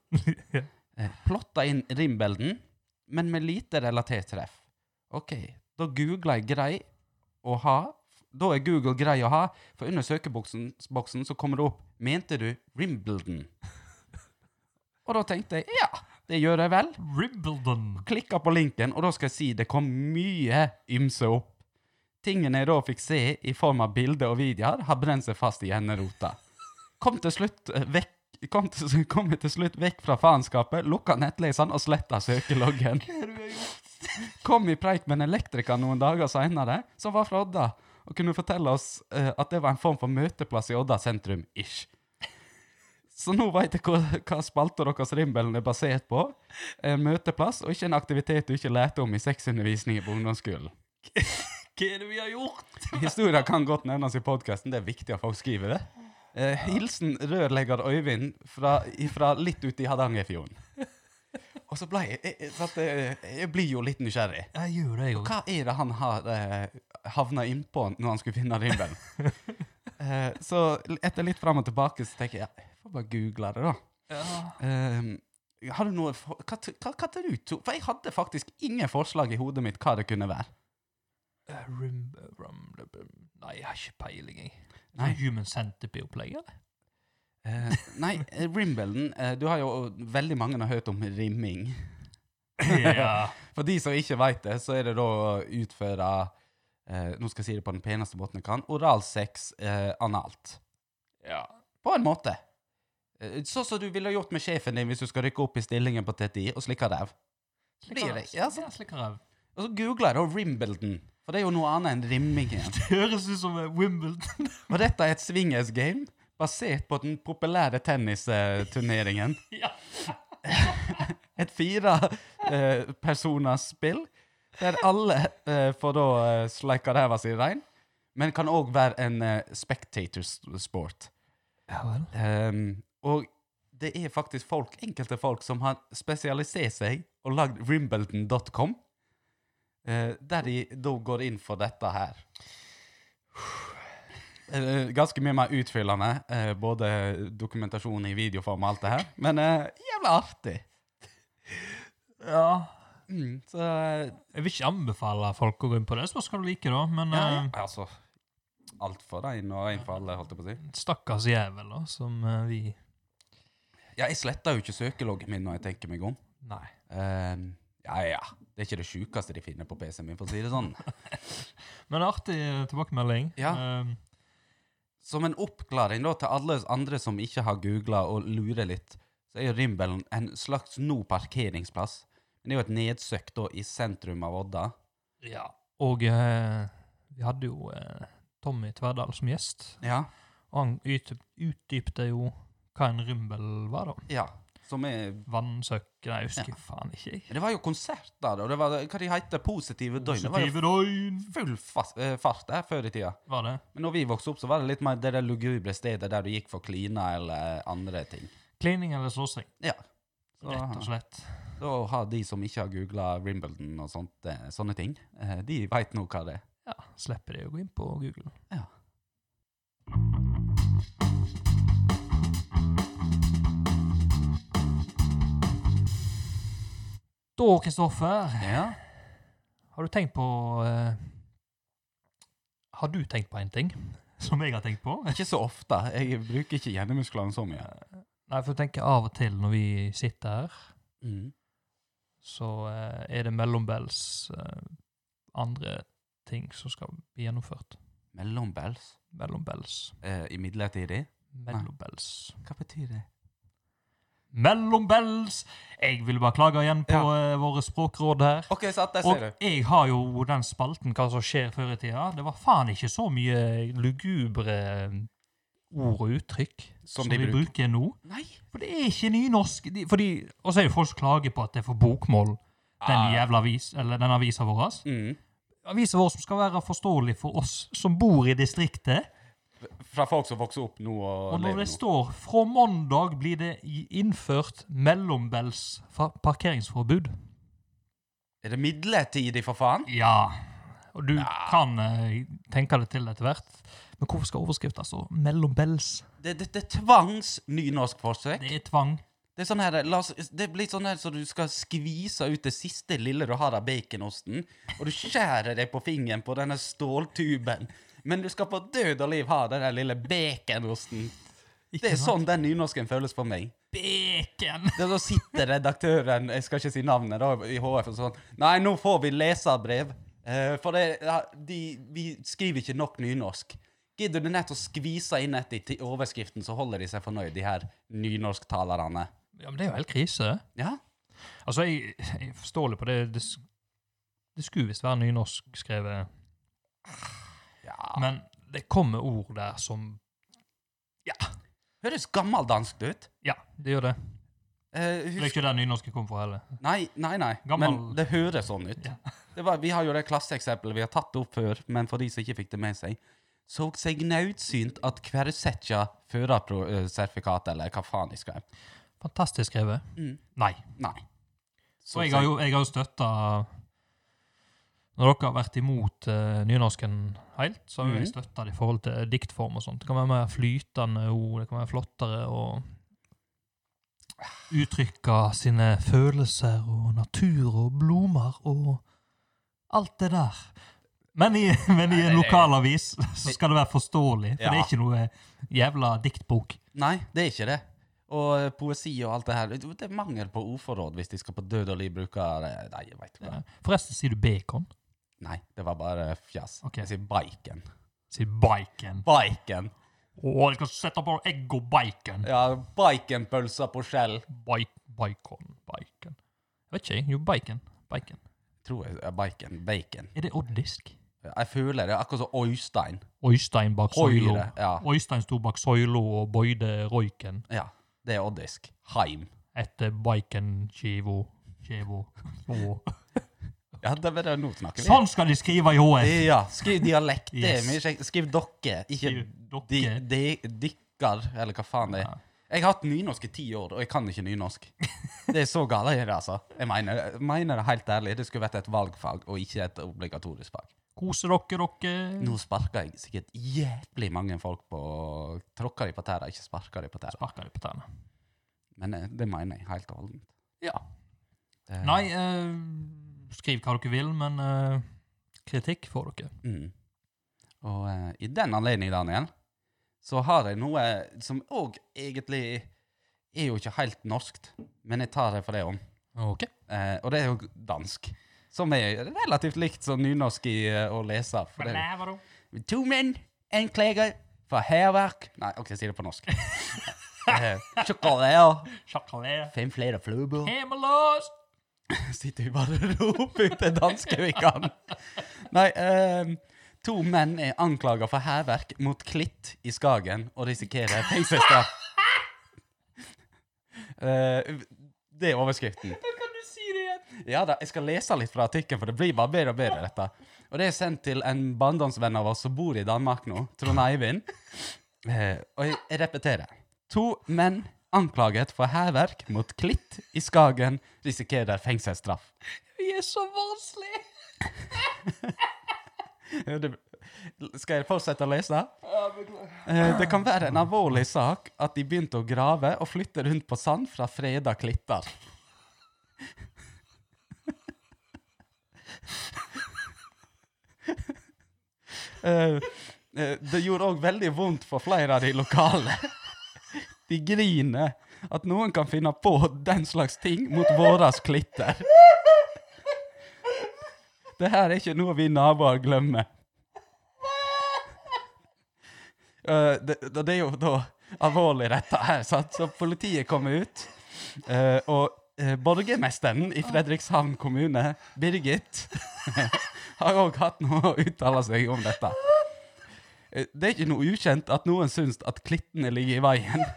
[SPEAKER 1] Eh, Plotta inn Rimbelden, men med lite relatert treff. OK, da googler jeg grei å ha. Da er Google grei å ha, for under søkeboksen boksen så kommer det opp 'Mente du Rimbelden?' Og da tenkte jeg ja, det gjør jeg vel.
[SPEAKER 2] Rimbledon.
[SPEAKER 1] Klikka på linken, og da skal jeg si det kom mye ymse opp. Tingene jeg da fikk se i form av bilder og videoer, har brent seg fast i hjernerota. Kom til slutt eh, vekk Kom, til, kom jeg til slutt vekk fra faenskapet, lukka nettleseren og sletta søkeloggen. Kom i preik med en elektriker noen dager seinere, som var fra Odda, og kunne fortelle oss eh, at det var en form for møteplass i Odda sentrum-ish. Så nå veit jeg hva, hva spalta deres Rimbelen er basert på. En møteplass og ikke en aktivitet du ikke lærte om i sexundervisning på ungdomsskolen.
[SPEAKER 2] Hva er det vi har gjort?
[SPEAKER 1] Historier kan godt nevnes i podkasten, det er viktig at folk skriver det. Eh, hilsen rørlegger Øyvind fra, ifra litt ute i Hardangerfjorden. Og så ble jeg jeg, jeg, satt, eh, jeg blir jo litt nysgjerrig.
[SPEAKER 2] Jeg gjør det, jeg òg.
[SPEAKER 1] Hva er det han har eh, havna innpå når han skulle finne Rimbelen? eh, så etter litt fram og tilbake så tenker jeg ja, jeg får bare google det, da.
[SPEAKER 2] Ja.
[SPEAKER 1] Ehm, har du noe for, hva, t- hva, hva tar du to? For jeg hadde faktisk ingen forslag i hodet mitt hva det kunne være.
[SPEAKER 2] Eh, Rim, rum, rum, rum. Nei, jeg har ikke peiling, jeg.
[SPEAKER 1] Nei.
[SPEAKER 2] Nei. Human Centipede-opplegg, eller?
[SPEAKER 1] Eh, nei, eh, Rimbelden eh, Du har jo veldig mange har hørt om rimming.
[SPEAKER 2] ja.
[SPEAKER 1] For de som ikke veit det, så er det da å utføre eh, Nå skal jeg si det på den peneste måten jeg kan. Oralsex eh, analt.
[SPEAKER 2] ja.
[SPEAKER 1] På en måte. Eh, Sånn som du ville gjort med sjefen din hvis du skal rykke opp i stillingen på TTI og slikke ræv. Blir det- ja, sånn. sant.
[SPEAKER 2] slik ræv.
[SPEAKER 1] Og så googler jeg da Rimbelden, for det er jo noe annet enn rimming. igjen.
[SPEAKER 2] Det høres ut som eh, Wimbledon.
[SPEAKER 1] Og dette er et swingers game basert på den populære tennisturneringen.
[SPEAKER 2] ja.
[SPEAKER 1] Et fire eh, personers spill der alle eh, får da eh, sleika ræva si rein, men kan òg være en eh, spectator s- sport.
[SPEAKER 2] Ja vel.
[SPEAKER 1] Ehm, og det er faktisk folk, enkelte folk som har spesialisert seg og lagd rimbelton.com, eh, der de da går inn for dette her. Eh, ganske mye mer utfyllende, eh, både dokumentasjon i videoform og alt det her, men eh, jævla artig.
[SPEAKER 2] Ja.
[SPEAKER 1] Mm, så eh,
[SPEAKER 2] Jeg vil ikke anbefale folk å gå inn på det. Spørs hva du liker, da. Men
[SPEAKER 1] ja,
[SPEAKER 2] eh,
[SPEAKER 1] ja, altså Alt for deg og en for alle, holdt jeg på å si.
[SPEAKER 2] stakkars jævel, da, som eh, vi
[SPEAKER 1] Ja, jeg sletter jo ikke søkeloggen min når jeg tenker meg om.
[SPEAKER 2] Nei.
[SPEAKER 1] Ehm, ja, ja. Det er ikke det sjukeste de finner på PC-en min, for å si det sånn.
[SPEAKER 2] Men artig eh, tilbakemelding.
[SPEAKER 1] Ja.
[SPEAKER 2] Eh,
[SPEAKER 1] Som en oppklaring da til alle andre som ikke har googla og lurer litt, så er jo Rimbelen en slags nå parkeringsplass. Men det er jo et nedsøkt da i sentrum av Odda.
[SPEAKER 2] ja. Og eh, vi hadde jo eh, Tommy Tverdal som gjest.
[SPEAKER 1] Ja.
[SPEAKER 2] Og han utdyp- utdypte jo hva en rymbel var, da.
[SPEAKER 1] ja. Som er
[SPEAKER 2] Vannsøk Nei, jeg husker faen ikke. jeg.
[SPEAKER 1] Det var jo konsert der, og det var hva de heter, Positive døgn. Det var jo
[SPEAKER 2] Positive døgn.
[SPEAKER 1] full fas, eh, fart der før i tida.
[SPEAKER 2] Var det?
[SPEAKER 1] Men når vi vokste opp, så var det litt mer det der lugubre stedet der du gikk for klina eller andre ting.
[SPEAKER 2] Klining eller slåssing,
[SPEAKER 1] Ja. Så,
[SPEAKER 2] rett og slett.
[SPEAKER 1] Da har de som ikke har googla Rimbledon og sånt, eh, sånne ting, eh, de veit nå hva det er.
[SPEAKER 2] Ja, slipper de å gå inn på Google.
[SPEAKER 1] Ja.
[SPEAKER 2] Da, Kristoffer,
[SPEAKER 1] Ja.
[SPEAKER 2] har du tenkt på eh, Har du tenkt på en ting som jeg har tenkt på?
[SPEAKER 1] Ikke så ofte. Jeg bruker ikke hjernemusklene så mye.
[SPEAKER 2] Nei, for jeg tenker av og til når vi sitter her,
[SPEAKER 1] Mm.
[SPEAKER 2] så eh, er det mellombels eh, andre ting som skal bli gjennomført.
[SPEAKER 1] Mellombels
[SPEAKER 2] Mellombels.
[SPEAKER 1] eh, i midlertidig?
[SPEAKER 2] Mellombels.
[SPEAKER 1] Hva betyr det?
[SPEAKER 2] Mellombels! Jeg vil bare klage igjen på eh, våre språkråd her.
[SPEAKER 1] OK, satt der,
[SPEAKER 2] Og
[SPEAKER 1] ser du.
[SPEAKER 2] jeg har jo den spalten hva som skjer før i tida. Det var faen ikke så mye lugubre ord og uttrykk
[SPEAKER 1] Som
[SPEAKER 2] som,
[SPEAKER 1] de
[SPEAKER 2] vi
[SPEAKER 1] bruk-
[SPEAKER 2] bruker nå.
[SPEAKER 1] Nei.
[SPEAKER 2] For det er ikke nynorsk. De, fordi, og så er jo folk som klager på at det er for bokmål,
[SPEAKER 1] Ah.
[SPEAKER 2] den jævla avis, eller den avisa vår.
[SPEAKER 1] Mm.
[SPEAKER 2] Avisa vår som skal være forståelig for oss som bor i distriktet.
[SPEAKER 1] Fra folk som vokser opp nå og,
[SPEAKER 2] Og når
[SPEAKER 1] lever
[SPEAKER 2] det
[SPEAKER 1] nå.
[SPEAKER 2] står 'fra mandag blir det i- innført mellombels fa- parkeringsforbud'
[SPEAKER 1] Er det midlertidig, for faen?
[SPEAKER 2] Ja. Og du kan eh, tenke deg til etter hvert. Men hvorfor skal overskriften stå 'mellombels'?
[SPEAKER 1] Det, det, det er tvangs nynorsk forsøk.
[SPEAKER 2] Det er tvang.
[SPEAKER 1] Det er sånn her, la oss, det blir sånn her så du skal skvise ut det siste lille du har av baconosten, og du skjærer deg på fingeren på denne ståltuben, men du skal på død og liv ha den der lille baconosten. Det er sånn den nynorsken føles for meg.
[SPEAKER 2] Bacon!
[SPEAKER 1] Da da sitter redaktøren, jeg skal ikke si navnet da, i HF og sånn, nei, nå får vi leserbrev, eh, for det, ja, de, vi skriver ikke nok nynorsk. Gidder du nett å skvise inn etter til overskriften, så holder de seg fornøyd, de her nynorsktalerne.
[SPEAKER 2] Ja, men det er jo helt krise.
[SPEAKER 1] Ja,
[SPEAKER 2] Altså, jeg, jeg forstår litt på det. Det, s- det skulle visst være nynorsk skrevet,
[SPEAKER 1] ja.
[SPEAKER 2] men det kommer ord der som
[SPEAKER 1] Høres gammeldansk ut.
[SPEAKER 2] Ja, det gjør det.
[SPEAKER 1] Eh,
[SPEAKER 2] Det er
[SPEAKER 1] husk,
[SPEAKER 2] ikke der nynorsken kom fra heller.
[SPEAKER 1] nei, nei, nei.
[SPEAKER 2] Gammel-
[SPEAKER 1] Men det høres sånn ut.
[SPEAKER 2] Ja.
[SPEAKER 1] Det var, vi har jo det klasseeksempelet vi har tatt det opp før, men for de som ikke fikk det med seg. Så seg naudsynt at kversetja førersertifikat, eller hva faen de skrev.
[SPEAKER 2] Fantastisk skrevet.
[SPEAKER 1] Mm.
[SPEAKER 2] Nei.
[SPEAKER 1] Nei.
[SPEAKER 2] Og jeg har jo, jeg har jo støtta Når dere har vært imot eh, nynorsken helt, så har jo jeg
[SPEAKER 1] Mhm.
[SPEAKER 2] støtta det i forhold til diktform og sånt. Det kan være mer flytende ord, det kan være flottere å uttrykke sine følelser og natur og blomer og alt det der. Men i,
[SPEAKER 1] Nei,
[SPEAKER 2] men i
[SPEAKER 1] det er-
[SPEAKER 2] en lokalavis så skal det være forståelig, for
[SPEAKER 1] Ja.
[SPEAKER 2] det er ikke noe jævla diktbok.
[SPEAKER 1] Nei, det er ikke det. Og eh, poesi og alt det her. Det det er mangel på ordforråd hvis de skal på død og liv bruke eh, Nei, jeg veit hva.
[SPEAKER 2] Forresten sier du bacon.
[SPEAKER 1] Nei, det var bare fjas.
[SPEAKER 2] Ok.
[SPEAKER 1] Jeg sier biken.
[SPEAKER 2] Sier bacon.
[SPEAKER 1] Biken!
[SPEAKER 2] Å, jeg skal sette på egg og bacon.
[SPEAKER 1] Ja, bikenpølser på skjell.
[SPEAKER 2] Bike, bacon, bacon. Jeg vet ikke, jeg. jo bacon. Bacon.
[SPEAKER 1] Tror jeg er biken. Bacon.
[SPEAKER 2] Er det oddisk?
[SPEAKER 1] Jeg føler det er akkurat som Øystein.
[SPEAKER 2] Øystein bak søylo.
[SPEAKER 1] Høyre. Ja,
[SPEAKER 2] Øystein sto bak søylo og bøyde røyken
[SPEAKER 1] ja. Det er oddisk. Heim.
[SPEAKER 2] etter bacon-skiva. Skiva. Å.
[SPEAKER 1] Ja, det var det nå snakker vi.
[SPEAKER 2] Sånn skal de skrive i HF!
[SPEAKER 1] Ja, skriv dialekt. Det er
[SPEAKER 2] Yes.
[SPEAKER 1] mye kjekt. Skriv dokke, ikke
[SPEAKER 2] Skriv dokke.
[SPEAKER 1] di, di, dikker, eller hva faen det er. Jeg har hatt nynorsk i ti år, og jeg kan ikke nynorsk. Det er så gale jeg er, altså. Jeg mener, jeg mener det helt ærlig. Det skulle vært et valgfag, og ikke et obligatorisk fag.
[SPEAKER 2] Kose dere, dere.
[SPEAKER 1] Nå sparker jeg sikkert jævlig mange folk på Tråkker de på tæra, ikke sparker de på tæra.
[SPEAKER 2] Sparker de på tærne.
[SPEAKER 1] Men eh, det mener jeg helt og holdent.
[SPEAKER 2] Ja.
[SPEAKER 1] Det-
[SPEAKER 2] Nei, eh, skriv hva dere vil, men eh, kritikk får dere.
[SPEAKER 1] Mm. Og eh, i den anledning, Daniel, så har jeg noe som òg egentlig er jo ikke helt norskt, men jeg tar det for det om.
[SPEAKER 2] OK.
[SPEAKER 1] Eh, og det er jo dansk. Som er relativt likt som nynorsk i eh, å lese. For det er jo To menn anklager for hærverk Nei, OK, jeg sier det på norsk. Eh, Sjokolade,
[SPEAKER 2] Sjokolade.
[SPEAKER 1] fem flere fluebord
[SPEAKER 2] Hjemmeløs!
[SPEAKER 1] sitter vi bare og roper ut det danske vi kan. Nei, ehm, to menn er anklaga for hærverk mot Klitt i Skagen og risikerer fengselsstraff. Eh, det er overskriften.
[SPEAKER 2] Kan du si det igjen?
[SPEAKER 1] Ja da, jeg skal lese litt fra artikkelen, for det blir bare bedre og bedre, dette. Og det er sendt til en barndomsvenn av oss som bor i Danmark nå, Trond Eivind. Eh, og jeg, jeg repeterer. To menn anklaget for hærverk mot Klitt i Skagen risikerer fengselsstraff.
[SPEAKER 2] Vi er så vanskelige!
[SPEAKER 1] Ja, Eh, det- Skal jeg fortsette å lese? Eh, Det kan være en alvorlig sak at de begynte å grave og flytte rundt på sand fra freda klitter. Eh, eh, Det gjorde òg veldig vondt for flere av de lokale. De griner at noen kan finne på den slags ting mot våras klitter. Det her er ikke noe vi naboer glemmer. Eh, det, det det er jo da alvorlig, dette her, sant? så politiet kom ut. eh, og eh, borgermesteren i Fredrikshavn kommune, Birgit, har òg hatt noe å uttale seg om dette. Eh, det er ikke noe ukjent at noen syns at klittene ligger i veien.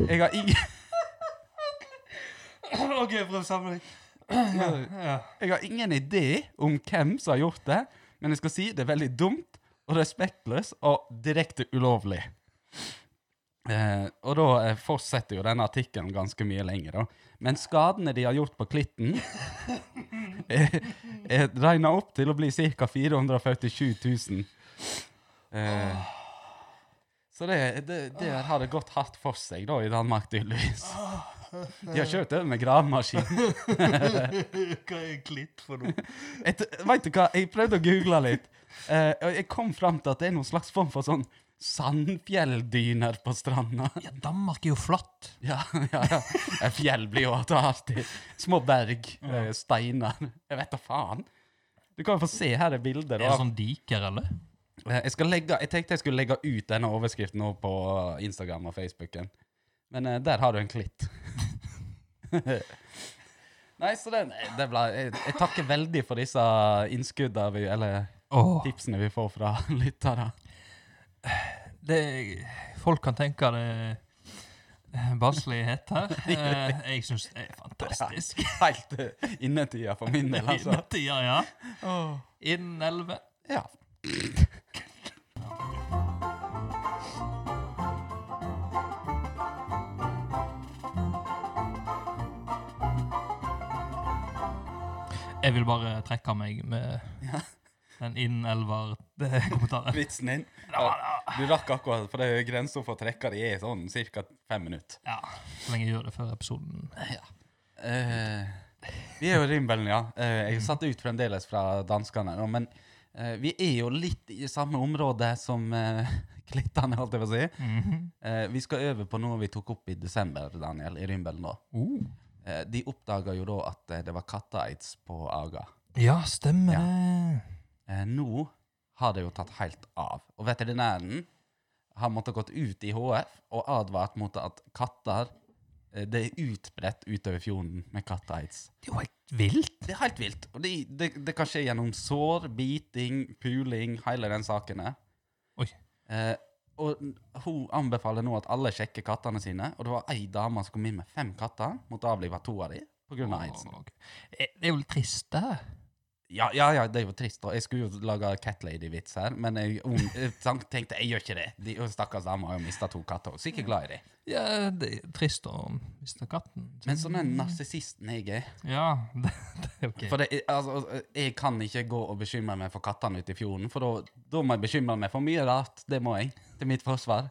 [SPEAKER 1] Jeg har ingen
[SPEAKER 2] OK, prøv å samle deg. Ja.
[SPEAKER 1] Jeg har ingen idé om hvem som har gjort det, men jeg skal si det er veldig dumt og respektløs og direkte ulovlig. Eh, og da eh, fortsetter jo denne artikkelen ganske mye lenger, da. Men skadene de har gjort på klitten, er, er regna opp til å bli ca. 447 000. Eh, så det, det, det har det gått hardt for seg, da, i Danmark, tydeligvis. De har kjørt over med gravemaskin.
[SPEAKER 2] Hva er klitt for noe?
[SPEAKER 1] Et, vet du hva, jeg prøvde å google litt, eh, og jeg kom fram til at det er noen slags form for sånn sandfjelldyner på stranda.
[SPEAKER 2] Ja, Danmark er jo flatt.
[SPEAKER 1] Ja, ja, ja. Eh, Fjell blir jo alltid artig. Små berg, eh, steiner. Jeg vet da faen. Du kan jo få se her er bilder.
[SPEAKER 2] Er det
[SPEAKER 1] Av.
[SPEAKER 2] sånn diker, eller?
[SPEAKER 1] Eh, Jeg, skal legge, jeg tenkte jeg skulle legge ut denne overskriften nå på eh, Instagram og Facebooken. Men eh, der har du en klitt. Nei, så den, det ble, jeg, jeg takker veldig for disse innskuddene vi, eller
[SPEAKER 2] Åh,
[SPEAKER 1] tipsene vi får fra lyttere.
[SPEAKER 2] det, folk kan tenke det er barnslighet her. Eh, Jeg syns det er fantastisk.
[SPEAKER 1] Helt eh, innetida for min del, altså.
[SPEAKER 2] Innen tida, ja. Innen elleve.
[SPEAKER 1] Ja.
[SPEAKER 2] Jeg vil bare trekke meg med den innen elver-kommentaren.
[SPEAKER 1] Vitsen din. Du rakk akkurat, for det er grensa for trekker i er sånn ca. fem minutter.
[SPEAKER 2] Ja, så lenge jeg gjør det før episoden. Eh,
[SPEAKER 1] vi er jo i Rimbelen, ja. Eh, jeg satt ut fremdeles fra danskene, nå, men eh, vi er jo litt i samme område som uh, klittene, holdt jeg på å si.
[SPEAKER 2] Mhm.
[SPEAKER 1] Eh, vi skal over på noe vi tok opp i desember, Daniel, i Rimbelen da.
[SPEAKER 2] Oh.
[SPEAKER 1] Eh, de oppdaga jo da at eh, det var katteaids på Aga.
[SPEAKER 2] Ja, stemmer
[SPEAKER 1] Ja.
[SPEAKER 2] det.
[SPEAKER 1] Eh, nå har det jo tatt helt av. Og veterinæren har måttet gått ut i HF og advart mot at katter eh, Det er utbredt utover fjorden med katteaids.
[SPEAKER 2] Det er jo helt vilt.
[SPEAKER 1] Det er helt vilt. Og det, det, det kan skje gjennom sår, biting, puling, hele den saken her.
[SPEAKER 2] Oi.
[SPEAKER 1] Eh, og hun anbefaler nå at alle sjekker kattene sine. Og det var ei dame som kom inn med fem katter, måtte avlive to av dem pga. aidsen.
[SPEAKER 2] Åh, ok. Eh, Det er jo litt trist, det her.
[SPEAKER 1] Ja, ja, ja, det er jo trist. Og jeg skulle jo lage Catlady-vits her, men jeg, om, jeg tenkte jeg gjør ikke det. De og Stakkars dame har jo mista to katter. og Sikkert glad i dem.
[SPEAKER 2] Ja, det er trist å miste katten.
[SPEAKER 1] Men sånn den narsissisten jeg er
[SPEAKER 2] Ja, det, det er ok.
[SPEAKER 1] For det, er- altså, jeg kan ikke gå og bekymre meg for kattene ute i fjorden, for da- da må jeg bekymre meg for mye rart. Det må jeg, til mitt forsvar.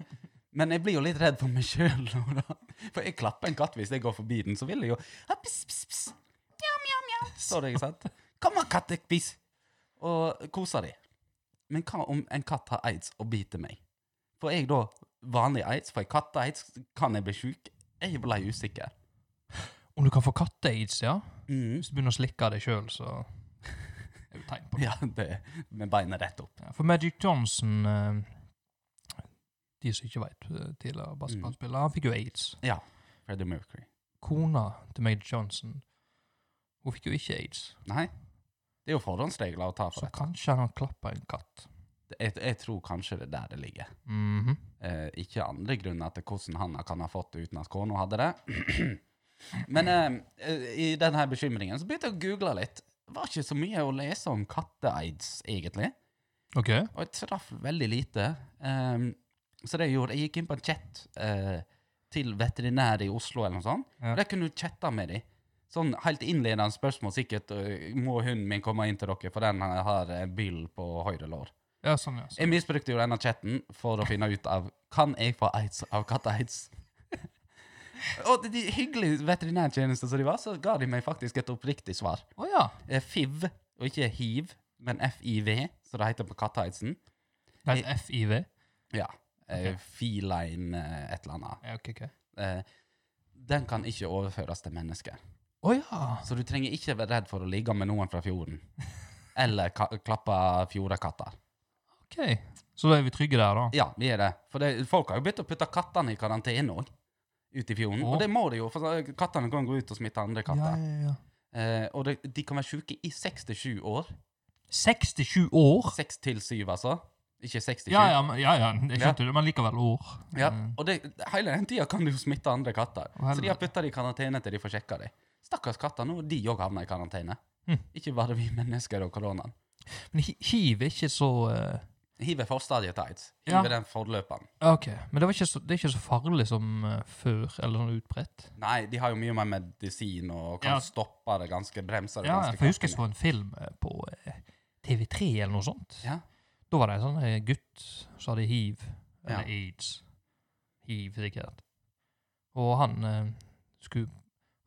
[SPEAKER 1] Men jeg blir jo litt redd for meg sjøl nå, da. For jeg klapper en katt hvis jeg går forbi den, så vil jeg jo «Ah, piss, piss, piss. Mjau, mjau, mjau. Står det, ikke sant? Kom og kattepiss! Og koser de. Men hva om en katt har aids og biter meg? Får jeg da vanlig aids? Får jeg katteaids? Kan jeg bli sjuk? Jeg ble usikker.
[SPEAKER 2] Om du kan få katte-aids, ja?
[SPEAKER 1] Mm.
[SPEAKER 2] Hvis du begynner å slikke deg sjøl, så er det jo tegn på det.
[SPEAKER 1] Ja, det med beinet rett opp.
[SPEAKER 2] Ja, For Magic Johnson eh, De som ikke veit, tidligere basketballspiller, han fikk jo aids.
[SPEAKER 1] Ja. Freddie Mercury.
[SPEAKER 2] Kona til Magic Johnson hun fikk jo ikke aids,
[SPEAKER 1] Nei. Det er jo forhåndsregler å ta for
[SPEAKER 2] så
[SPEAKER 1] dette.
[SPEAKER 2] kanskje han klappa en katt.
[SPEAKER 1] Jeg, jeg tror kanskje det er der det ligger.
[SPEAKER 2] Mhm.
[SPEAKER 1] Eh, ikke andre grunner til hvordan han kan ha fått det uten at kona hadde det. Men eh, i denne bekymringen så begynte jeg å google litt. Det var ikke så mye å lese om katteaids, egentlig.
[SPEAKER 2] OK.
[SPEAKER 1] Og jeg traff veldig lite. Ehm, så det jeg gjorde, jeg gikk inn på en chat eh, til veterinærer i Oslo eller noe sånt.
[SPEAKER 2] Ja.
[SPEAKER 1] Og der kunne du chatte med dem. Sånn helt innledende spørsmål sikkert. eh, Må hunden min komme inn til dere, for den har en byll på høyre lår.
[SPEAKER 2] Ja, sånn, ja. Sånn.
[SPEAKER 1] Jeg misbrukte jo denne chatten for å finne ut av Kan jeg få aids av katteaids? Og de hyggelige veterinærtjenester som de var, så ga de meg faktisk et oppriktig svar.
[SPEAKER 2] Å ja.
[SPEAKER 1] Eh, FIV, og ikke hiv, men FIV, som det heter på katteaidsen.
[SPEAKER 2] Det er et FIV.
[SPEAKER 1] Ja. Okay.
[SPEAKER 2] Ok.
[SPEAKER 1] Eh, Feline eh, et eller annet.
[SPEAKER 2] Ja, ok, ok.
[SPEAKER 1] Eh, den kan ikke overføres til mennesker.
[SPEAKER 2] Å ja.
[SPEAKER 1] Så du trenger ikke være redd for å ligge med noen fra fjorden. Eller ka klappe fjordakatter.
[SPEAKER 2] OK. Så da er vi trygge der, da.
[SPEAKER 1] Ja, vi er det. For det, folk har jo begynt å putte kattene i karantene òg. Ute i fjorden.
[SPEAKER 2] Å.
[SPEAKER 1] Og det må de jo, for så- kattene kan gå ut og smitte andre katter.
[SPEAKER 2] ja, ja.
[SPEAKER 1] Eh, og det, de kan være sjuke i 67 år.
[SPEAKER 2] 67 år?
[SPEAKER 1] 6 til 7, altså. Ikke 67.
[SPEAKER 2] Ja, ja, men- ja, ja, jeg skjønte det, men likevel år.
[SPEAKER 1] Ja,
[SPEAKER 2] Eh,
[SPEAKER 1] og det, hele den tida kan du jo smitte andre katter.
[SPEAKER 2] Å,
[SPEAKER 1] Så de har
[SPEAKER 2] helvete.
[SPEAKER 1] putta de i karantene til de får sjekka de. Stakkars katter, nå de òg havner i karantene.
[SPEAKER 2] Hm.
[SPEAKER 1] Ikke bare vi mennesker og koronaen.
[SPEAKER 2] Men hi- hiv er ikke så eh,
[SPEAKER 1] hiver forstadietights.
[SPEAKER 2] Ja.
[SPEAKER 1] Hiver den forløperen.
[SPEAKER 2] Ja, Ok, Men det, var ikke så, det er ikke så farlig som eh, før, eller sånn utbredt?
[SPEAKER 1] Nei, de har jo mye mer medisin og kan
[SPEAKER 2] Ja.
[SPEAKER 1] stoppe det ganske, bremse det
[SPEAKER 2] Ja,
[SPEAKER 1] ganske
[SPEAKER 2] for jeg husker
[SPEAKER 1] kraftig.
[SPEAKER 2] jeg så en film eh, på eh, TV3 eller noe sånt.
[SPEAKER 1] Ja.
[SPEAKER 2] Da var det en sånn eh, gutt som hadde hiv, eller
[SPEAKER 1] Ja.
[SPEAKER 2] aids. Hiv, sikkert. Og han eh, skulle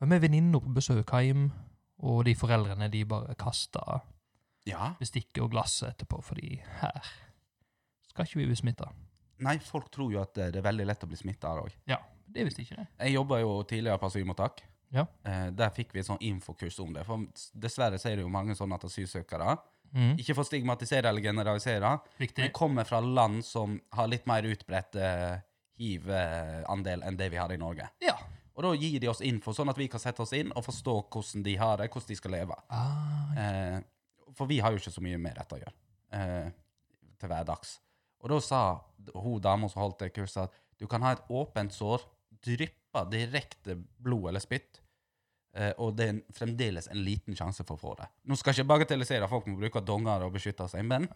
[SPEAKER 2] være med venninna på besøk hjem, og de foreldrene de bare kasta
[SPEAKER 1] Ja.
[SPEAKER 2] bestikket og glasset etterpå, fordi her skal ikke vi bli smitta.
[SPEAKER 1] Nei, folk tror jo at eh, det er veldig lett å bli smitta her òg.
[SPEAKER 2] Det visste ikke det.
[SPEAKER 1] Jeg jobba jo tidligere på asylmottak.
[SPEAKER 2] Ja.
[SPEAKER 1] Eh, der fikk vi et sånn infokurs om det. For dessverre så er det jo mange sånne at asylsøkere
[SPEAKER 2] Mm.
[SPEAKER 1] Ikke for å stigmatisere eller generalisere,
[SPEAKER 2] Viktig.
[SPEAKER 1] men kommer fra land som har litt mer utbredt eh, hiv-andel enn det vi har i Norge.
[SPEAKER 2] Ja.
[SPEAKER 1] Og da gir de oss info, sånn at vi kan sette oss inn og forstå hvordan de har det, hvordan de skal leve.
[SPEAKER 2] Ah,
[SPEAKER 1] Eh, for vi har jo ikke så mye med dette å gjøre eh, til hverdags. Og da sa hun dama som holdt det kurset, at du kan ha et åpent sår, dryppe direkte blod eller spytt, eh, og det er en- fremdeles en liten sjanse for å få det. Nå skal jeg ikke bagatellisere folk må bruke donger og beskytte seg, men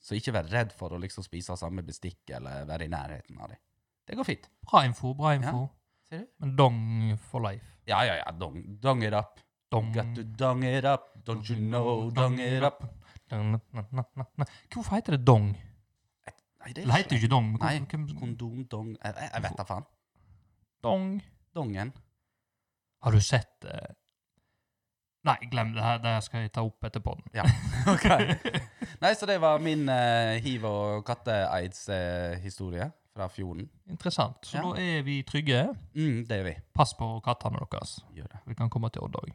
[SPEAKER 1] så ikke vær redd for å liksom spise samme bestikk eller være i nærheten av dem. Det går fint.
[SPEAKER 2] bra info, bra info.
[SPEAKER 1] Ser du?
[SPEAKER 2] Men dong for life.
[SPEAKER 1] Ja, ja, ja. Dong, dong it up.
[SPEAKER 2] Dong.
[SPEAKER 1] Got to dong it up. Don't you know, dong it up.
[SPEAKER 2] Dong, na, na, na, na. Hvorfor heter det dong?
[SPEAKER 1] Nei, det
[SPEAKER 2] Det heter jo ikke dong. men
[SPEAKER 1] Nei,
[SPEAKER 2] hvorfor- hvem-
[SPEAKER 1] Kondom, dong Jeg, jeg- jeg vet da faen.
[SPEAKER 2] Dong.
[SPEAKER 1] Dongen.
[SPEAKER 2] Har du sett eh, Nei, glem det her. Det her skal jeg ta opp etterpå.
[SPEAKER 1] Ja. ok. Nei, så det var min eh, hiv- og katte-aids-historie fra fjorden.
[SPEAKER 2] Interessant. Så
[SPEAKER 1] Ja.
[SPEAKER 2] da er vi trygge.
[SPEAKER 1] Mm, det er vi.
[SPEAKER 2] Pass på kattene deres.
[SPEAKER 1] Gjør det.
[SPEAKER 2] Vi kan komme til Odd òg.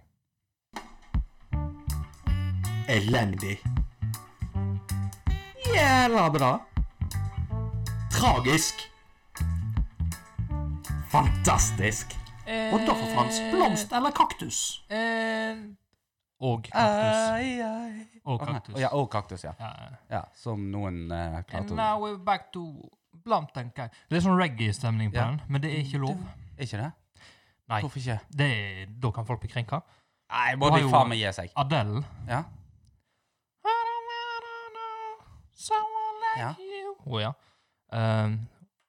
[SPEAKER 3] Elendig. Jævla bra. Tragisk. Fantastisk. Og da for Frans blomst eller kaktus?
[SPEAKER 2] Og kaktus.
[SPEAKER 1] ai.
[SPEAKER 2] Og
[SPEAKER 1] Eh, Å, nei.
[SPEAKER 2] kaktus.
[SPEAKER 1] Å, ja, og eh, kaktus, ja.
[SPEAKER 2] Ja, ja.
[SPEAKER 1] ja. Som noen eh,
[SPEAKER 2] And
[SPEAKER 1] klarte å
[SPEAKER 2] now we're back to Blunt and Kai. Det er sånn reggae-stemning på
[SPEAKER 1] Ja.
[SPEAKER 2] den, men det er ikke lov.
[SPEAKER 1] Er Ikke det?
[SPEAKER 2] Nei.
[SPEAKER 1] Hvorfor ikke?
[SPEAKER 2] Det er, da kan folk bli krenka.
[SPEAKER 1] Nei,
[SPEAKER 2] Du
[SPEAKER 1] må
[SPEAKER 2] har
[SPEAKER 1] de
[SPEAKER 2] jo-
[SPEAKER 1] faen meg gi seg.
[SPEAKER 2] Adele
[SPEAKER 1] Ja.
[SPEAKER 2] Someone like
[SPEAKER 1] Ja.
[SPEAKER 2] you. Hun, ja. Ehm,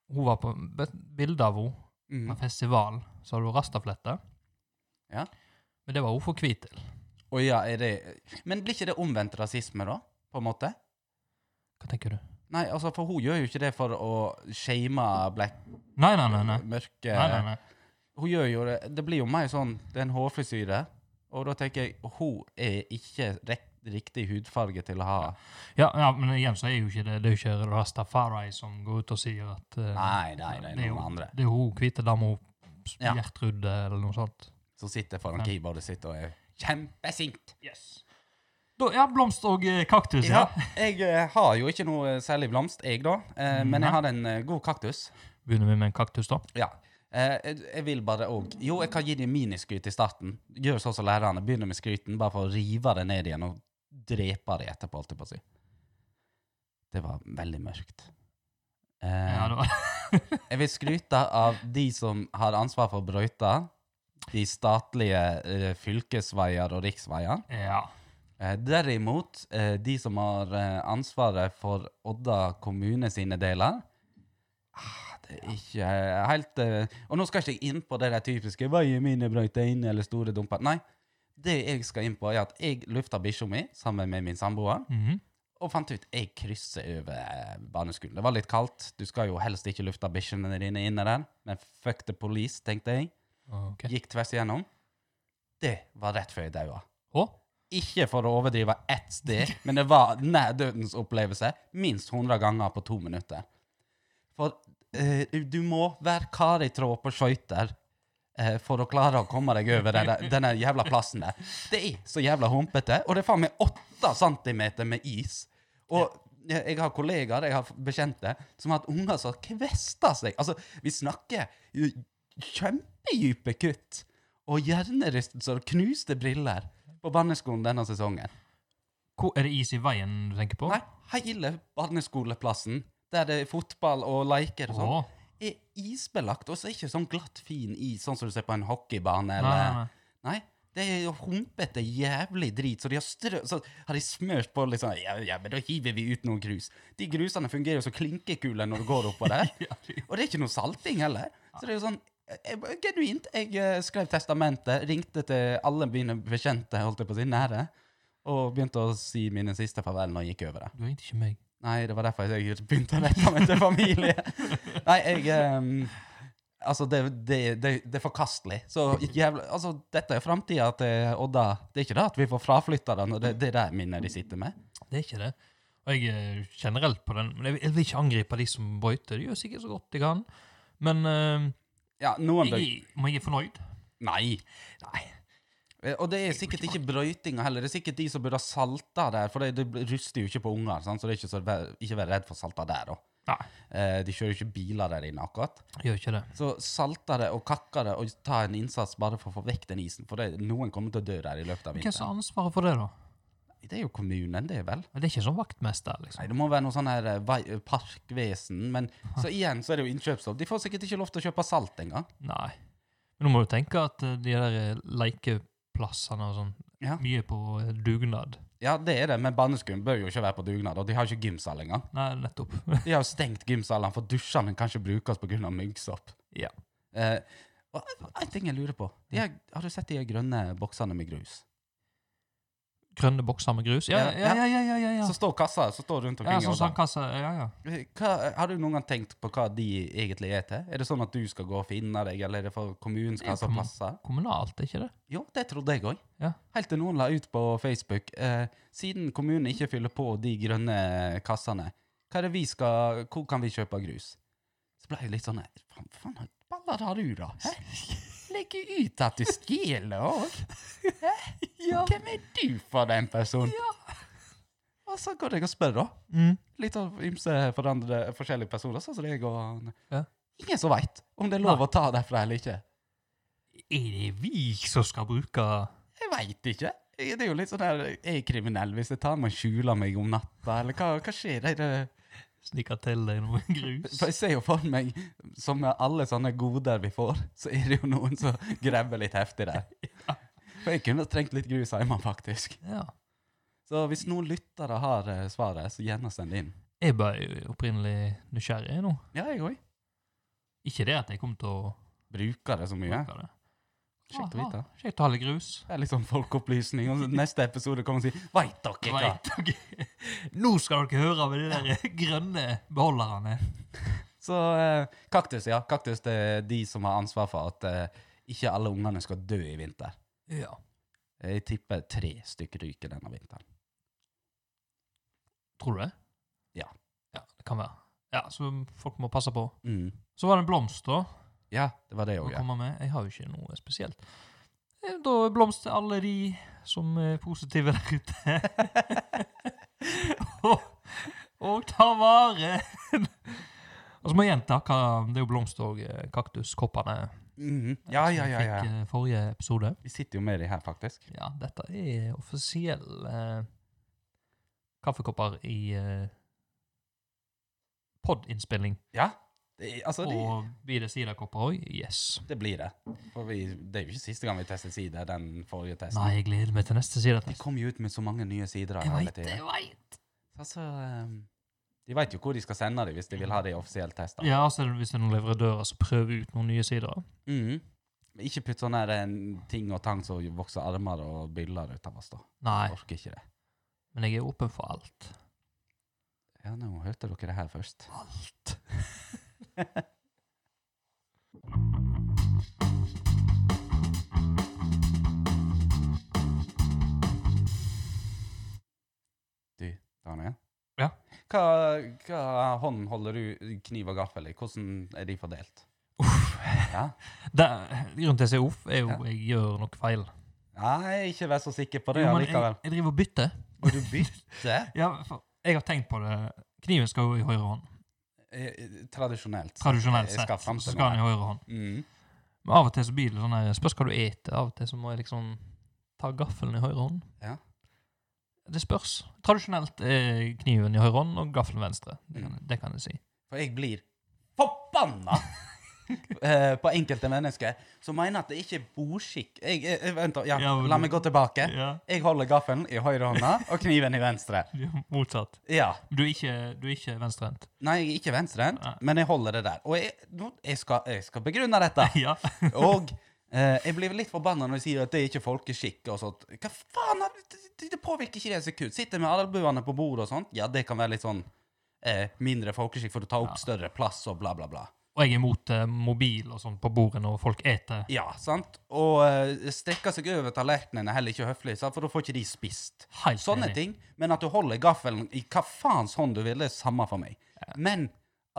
[SPEAKER 2] hun var på et bilde av henne på
[SPEAKER 1] Mm.
[SPEAKER 2] en festival. Så hadde hun rastaflette.
[SPEAKER 1] Ja.
[SPEAKER 2] Men det var hun for hvit til.
[SPEAKER 1] Og ja, er det Men blir ikke det omvendt rasisme, da? På en måte?
[SPEAKER 2] Hva tenker du?
[SPEAKER 1] Nei, altså, for hun gjør jo ikke det for å shame black,
[SPEAKER 2] Nei, nei, nei. nei.
[SPEAKER 1] mørke
[SPEAKER 2] nei, nei, nei.
[SPEAKER 1] hun gjør jo det Det blir jo mer sånn Det er en hårfrisyre. Og da tenker jeg hun er ikke rekt, riktig hudfarge til å ha
[SPEAKER 2] Ja, ja, men igjen så er jo ikke det Det er jo ikke Rastafari som går ut og sier at eh,
[SPEAKER 1] Nei, nei, nei,
[SPEAKER 2] det er
[SPEAKER 1] noen
[SPEAKER 2] jo-
[SPEAKER 1] andre.
[SPEAKER 2] Det er hun hvite dama
[SPEAKER 1] Ja.
[SPEAKER 2] Gjertrud eller noe sånt.
[SPEAKER 1] Som sitter foran keyboardet sitt og er kjempesint.
[SPEAKER 2] Yes. Da, ja, blomst og eh, kaktus,
[SPEAKER 1] Ja,
[SPEAKER 2] ja.
[SPEAKER 1] jeg eh, har jo ikke noe særlig blomst, jeg, da. Eh, men
[SPEAKER 2] Nei.
[SPEAKER 1] jeg har en eh, god kaktus.
[SPEAKER 2] Begynner vi med en kaktus, da?
[SPEAKER 1] Ja. Eh, jeg, jeg vil bare òg Jo, jeg kan gi dem miniskryt i starten. Gjør sånn som lærerne. Begynner med skryten, bare for å rive det ned igjen og drepe det etterpå, holdt jeg på å si. Det var veldig mørkt. Eh,
[SPEAKER 2] Ja, det var
[SPEAKER 1] Jeg vil skryte av de som har ansvar for brøyta, de statlige eh, fylkesveier og riksveier.
[SPEAKER 2] Ja.
[SPEAKER 1] Eh, derimot, eh, de som har eh, ansvaret for Odda kommune sine deler, ah, det er ikke eh, helt eh, Og nå skal ikke jeg inn på det der typiske 'veien min er brøyta inn' eller 'store dumper'. Nei. Det jeg skal inn på, er at jeg lufta bikkja mi sammen med min samboer
[SPEAKER 2] Mhm.
[SPEAKER 1] og fant ut jeg krysser over eh, barneskolen. Det var litt kaldt. Du skal jo helst ikke lufte bikkjene dine inne der. Men fuck the police, tenkte jeg.
[SPEAKER 2] Ok.
[SPEAKER 1] Gikk tvers igjennom. Det var rett før jeg daua.
[SPEAKER 2] Og?
[SPEAKER 1] Ikke for å overdrive ett sted, men det var nær dødens opplevelse minst 100 ganger på to minutter. For eh, du må være karitråd på skøyter eh, for å klare å komme deg over den, der- denne jævla plassen der. Det er så jævla humpete, og det er faen meg åtte centimeter med is. Og jeg, jeg har kollegaer, jeg har bekjente, som har hatt unger som har kvesta seg. Altså, vi snakker jo kjempedype kutt og hjernerystelser og knuste briller på barneskolen denne sesongen.
[SPEAKER 2] Hvor, er det is i veien du tenker på?
[SPEAKER 1] Nei, hele barneskoleplassen, der det er fotball og leker og sånn,
[SPEAKER 2] Å,
[SPEAKER 1] er isbelagt. Og så er det ikke sånn glatt, fin is, sånn som du ser på en hockeybane
[SPEAKER 2] nei,
[SPEAKER 1] eller
[SPEAKER 2] nei, nei.
[SPEAKER 1] Nei, Det er jo humpete, jævlig drit. Så de har, strø så har de smørt på liksom ja, ja, men da hiver vi ut noen grus. De grusene fungerer jo som klinkekuler når du går oppå der. Og det er ikke noe salting heller. Så det er jo sånn jeg, Genuint. Jeg eh, skrev testamentet, ringte til alle mine bekjente, holdt jeg på å si, nære, og begynte å si mine siste farvel når jeg gikk over det.
[SPEAKER 2] Du ringte ikke meg.
[SPEAKER 1] Nei, det var derfor jeg begynte å rette meg til familie. Nei, jeg ehm, Altså, det, det, det, det er forkastelig. Så jævla Altså, dette er framtida til Odda. Det er ikke det at vi får fraflytta den, og det, det er det minnet de sitter med.
[SPEAKER 2] Det er ikke det. Og jeg er generelt på den. Men jeg vil- jeg vil ikke angripe de som brøyter. De gjør sikkert så godt de kan. Men eh,
[SPEAKER 1] Ja, noen bør
[SPEAKER 2] jeg, om jeg er fornøyd?
[SPEAKER 1] Nei.
[SPEAKER 2] Nei.
[SPEAKER 1] Eh, Og det er sikkert ikke brøytinga heller. Det er sikkert de som burde ha salta der, for det, det ruster jo ikke på unger, sant? så det er ikke så vær, ikke vær redd for salta der òg.
[SPEAKER 2] Nei,
[SPEAKER 1] Eh, de kjører jo ikke biler der inne, akkurat.
[SPEAKER 2] jeg gjør ikke det.
[SPEAKER 1] Så salta det og kakka det og ta en innsats bare for å få vekk den isen, for det, noen kommer til å dø der i løpet av
[SPEAKER 2] Hvem som
[SPEAKER 1] vinteren.
[SPEAKER 2] har ansvaret for det, da?
[SPEAKER 1] Det er jo kommunen, det, vel?
[SPEAKER 2] Det er ikke sånn vaktmester, liksom.
[SPEAKER 1] Nei, Det må være noe sånn her eh, vei- eh, parkvesen. Men så igjen så er det jo innkjøpsstopp. De får sikkert ikke lov til å kjøpe salt engang.
[SPEAKER 2] Nei. Men nå må du tenke at eh, de der eh, lekeplassene og sånn,
[SPEAKER 1] Ja.
[SPEAKER 2] mye på eh, dugnad.
[SPEAKER 1] Ja, det er det, men barneskum bør jo ikke være på dugnad. Og de har ikke gymsal engang.
[SPEAKER 2] Nei, nettopp.
[SPEAKER 1] De har jo stengt gymsalene, for dusjene kan ikke brukes pga. myggsopp.
[SPEAKER 2] ja.
[SPEAKER 1] Eh, og en ting jeg lurer på. De her, har du sett de her grønne boksene med grus?
[SPEAKER 2] Grønne bokser med grus. Ja, ja, ja, ja, ja, ja. ja.
[SPEAKER 1] Så står kassa så står rundt
[SPEAKER 2] Ja,
[SPEAKER 1] omkring. i
[SPEAKER 2] sånn
[SPEAKER 1] Odda.
[SPEAKER 2] sandkasse. Ja, ja.
[SPEAKER 1] hva, har du noen gang tenkt på hva de egentlig er til? Er det sånn at du skal gå og finne deg, eller er det for kommunen skal ha
[SPEAKER 2] Det er
[SPEAKER 1] så
[SPEAKER 2] kommun-
[SPEAKER 1] plasser?
[SPEAKER 2] Kommunalt, er ikke det?
[SPEAKER 1] Jo, det trodde jeg òg.
[SPEAKER 2] Ja.
[SPEAKER 1] Helt til noen la ut på Facebook eh, Siden kommunen ikke fyller på de grønne kassene, hva er det vi skal, hvor kan vi kjøpe grus? Så ble jeg litt sånn Faen, faen hva baller har du, da? Hæ? Legg ut at du stjeler òg! Hvem er du for den personen? Og så går jeg og spør, da.
[SPEAKER 2] Mm.
[SPEAKER 1] Litt av ymse forandrede forskjellige personer, sånn som deg og
[SPEAKER 2] Ja.
[SPEAKER 1] Ingen som veit om det er lov å ta derfra eller ikke.
[SPEAKER 2] Er det vi som skal bruke
[SPEAKER 1] Jeg veit ikke. Jeg- Det er jo litt sånn der, Jeg er kriminell hvis jeg tar meg og skjuler meg om natta, eller hva, hva skjer? Er det,
[SPEAKER 2] snikke til deg noe grus?
[SPEAKER 1] for jeg ser jo for meg, som med alle sånne goder vi får, så er det jo noen som grabber litt heftig der. For jeg kunne trengt litt grus hjemme, faktisk.
[SPEAKER 2] Ja.
[SPEAKER 1] Så hvis noen lyttere har eh, svaret, så gjerne send det inn.
[SPEAKER 2] Jeg ble jo opprinnelig nysgjerrig nå.
[SPEAKER 1] Ja, jeg òg.
[SPEAKER 2] Ikke det at jeg kom til å
[SPEAKER 1] Bruker det så mye.
[SPEAKER 2] bruke det.
[SPEAKER 1] Kjekt å
[SPEAKER 2] Aha,
[SPEAKER 1] vite.
[SPEAKER 2] Kjekt å ha litt grus.
[SPEAKER 1] Det er litt sånn folkeopplysning. Og så neste episode kommer og sier 'Veit dere hva?'
[SPEAKER 2] Right, ok. Nå skal dere høre med de der grønne beholderne.
[SPEAKER 1] Så eh, kaktus, ja. Kaktus det er de som har ansvar for at eh, ikke alle ungene skal dø i vinter.
[SPEAKER 2] Ja.
[SPEAKER 1] Jeg tipper tre stykker ryker denne vinteren.
[SPEAKER 2] Tror du det?
[SPEAKER 1] Ja.
[SPEAKER 2] Ja, Det kan være. Ja, Så folk må passe på.
[SPEAKER 1] Mm.
[SPEAKER 2] Så var det en blomst, da.
[SPEAKER 1] Ja, det var det
[SPEAKER 2] å
[SPEAKER 1] òg, ja.
[SPEAKER 2] komme med. Jeg har jo ikke noe spesielt. Eh, Da er blomst til alle de som er positive der ute. og, og ta vare. og så må jeg gjenta hva det er jo blomst og eh, kaktuskoppene
[SPEAKER 1] Mhm. ja, ja, ja,
[SPEAKER 2] som
[SPEAKER 1] ja.
[SPEAKER 2] fikk eh, forrige episode.
[SPEAKER 1] Vi sitter jo med de her, faktisk.
[SPEAKER 2] Ja, dette er offisielle eh, kaffekopper i eh, pod-innspilling.
[SPEAKER 1] Ja. Det, altså, de,
[SPEAKER 2] Og videre sidekopper òg. Yes.
[SPEAKER 1] det blir det. For vi, det er jo ikke siste gang vi tester sider, den forrige testen.
[SPEAKER 2] Nei, jeg gleder meg til neste
[SPEAKER 1] De
[SPEAKER 2] sidetest.
[SPEAKER 1] kom jo ut med så mange nye sider.
[SPEAKER 2] Jeg
[SPEAKER 1] hele
[SPEAKER 2] veit det,
[SPEAKER 1] tiden.
[SPEAKER 2] jeg veit.
[SPEAKER 1] Altså, eh, de veit jo hvor de skal sende dem hvis de vil ha det i offisiell test. da.
[SPEAKER 2] Ja, altså, hvis det er noen leverandører som prøver ut noen nye sider. Mm.
[SPEAKER 1] Mhm. Men Ikke putt sånne her, eh, ting og tang som vokser armer og byller ut av oss, da.
[SPEAKER 2] Nei,
[SPEAKER 1] Jeg orker ikke det.
[SPEAKER 2] men jeg er åpen for alt.
[SPEAKER 1] Ja, nå hørte dere det her først.
[SPEAKER 2] Alt.
[SPEAKER 1] Daniel?
[SPEAKER 2] Ja.
[SPEAKER 1] Hva, hva hånd holder du kniv og gaffel i? Hvordan er de fordelt? Ja.
[SPEAKER 2] Der, grunnen til at jeg sier off, er jo
[SPEAKER 1] Ja.
[SPEAKER 2] jeg gjør noe feil.
[SPEAKER 1] Nei, ikke vær så sikker på det
[SPEAKER 2] Jo, men jeg,
[SPEAKER 1] allikevel.
[SPEAKER 2] jeg driver og bytter.
[SPEAKER 1] Og du bytter?
[SPEAKER 2] Ja, for jeg har tenkt på det. Kniven skal jo i høyre hånd.
[SPEAKER 1] Eh, Tradisjonelt.
[SPEAKER 2] Tradisjonelt
[SPEAKER 1] Jeg
[SPEAKER 2] sett.
[SPEAKER 1] skal
[SPEAKER 2] Så
[SPEAKER 1] frem til
[SPEAKER 2] skal den i
[SPEAKER 1] noe
[SPEAKER 2] høyre hånd.
[SPEAKER 1] Mm.
[SPEAKER 2] Men av og til så blir det sånn her Spørs hva du eter. Av og til så må jeg liksom ta gaffelen i høyre hånd.
[SPEAKER 1] Ja.
[SPEAKER 2] Det spørs. Tradisjonelt er kniven i høyre hånd og gaffelen venstre. Det kan,
[SPEAKER 1] Mm.
[SPEAKER 2] det kan jeg si.
[SPEAKER 1] For jeg blir forbanna eh, på enkelte mennesker som mener at det ikke er boskikk jeg, jeg, jeg- Vent, da, ja,
[SPEAKER 2] Ja, men
[SPEAKER 1] la
[SPEAKER 2] du-
[SPEAKER 1] meg gå tilbake.
[SPEAKER 2] Ja.
[SPEAKER 1] Jeg holder gaffelen i høyre hånda og kniven i venstre.
[SPEAKER 2] Ja, Motsatt.
[SPEAKER 1] Ja.
[SPEAKER 2] Du er ikke, du er ikke venstrehendt.
[SPEAKER 1] Nei, jeg er ikke venstrehendt,
[SPEAKER 2] Nei.
[SPEAKER 1] men jeg holder det der. Og jeg, nå- jeg, skal, jeg skal begrunne dette.
[SPEAKER 2] Ja.
[SPEAKER 1] Og eh, jeg blir litt forbanna når de sier at det er ikke folkeskikk og sånt. Hva faen? er Det, det- det påvirker ikke det et sekund. Sitter med albuene på bordet og sånt. Ja, det kan være litt sånn eh, mindre folkeskikk for å ta opp større plass og bla, bla, bla.
[SPEAKER 2] Og jeg er imot eh, mobil og sånn på bordet når folk eter.
[SPEAKER 1] Ja, sant? Og eh, strekke seg over tallerkenen er heller ikke høflig, sant? for da får ikke de spist.
[SPEAKER 2] Helt
[SPEAKER 1] Sånne
[SPEAKER 2] enig.
[SPEAKER 1] ting. Men at du holder gaffelen i hva faens hånd du vil, det er samme for meg. Men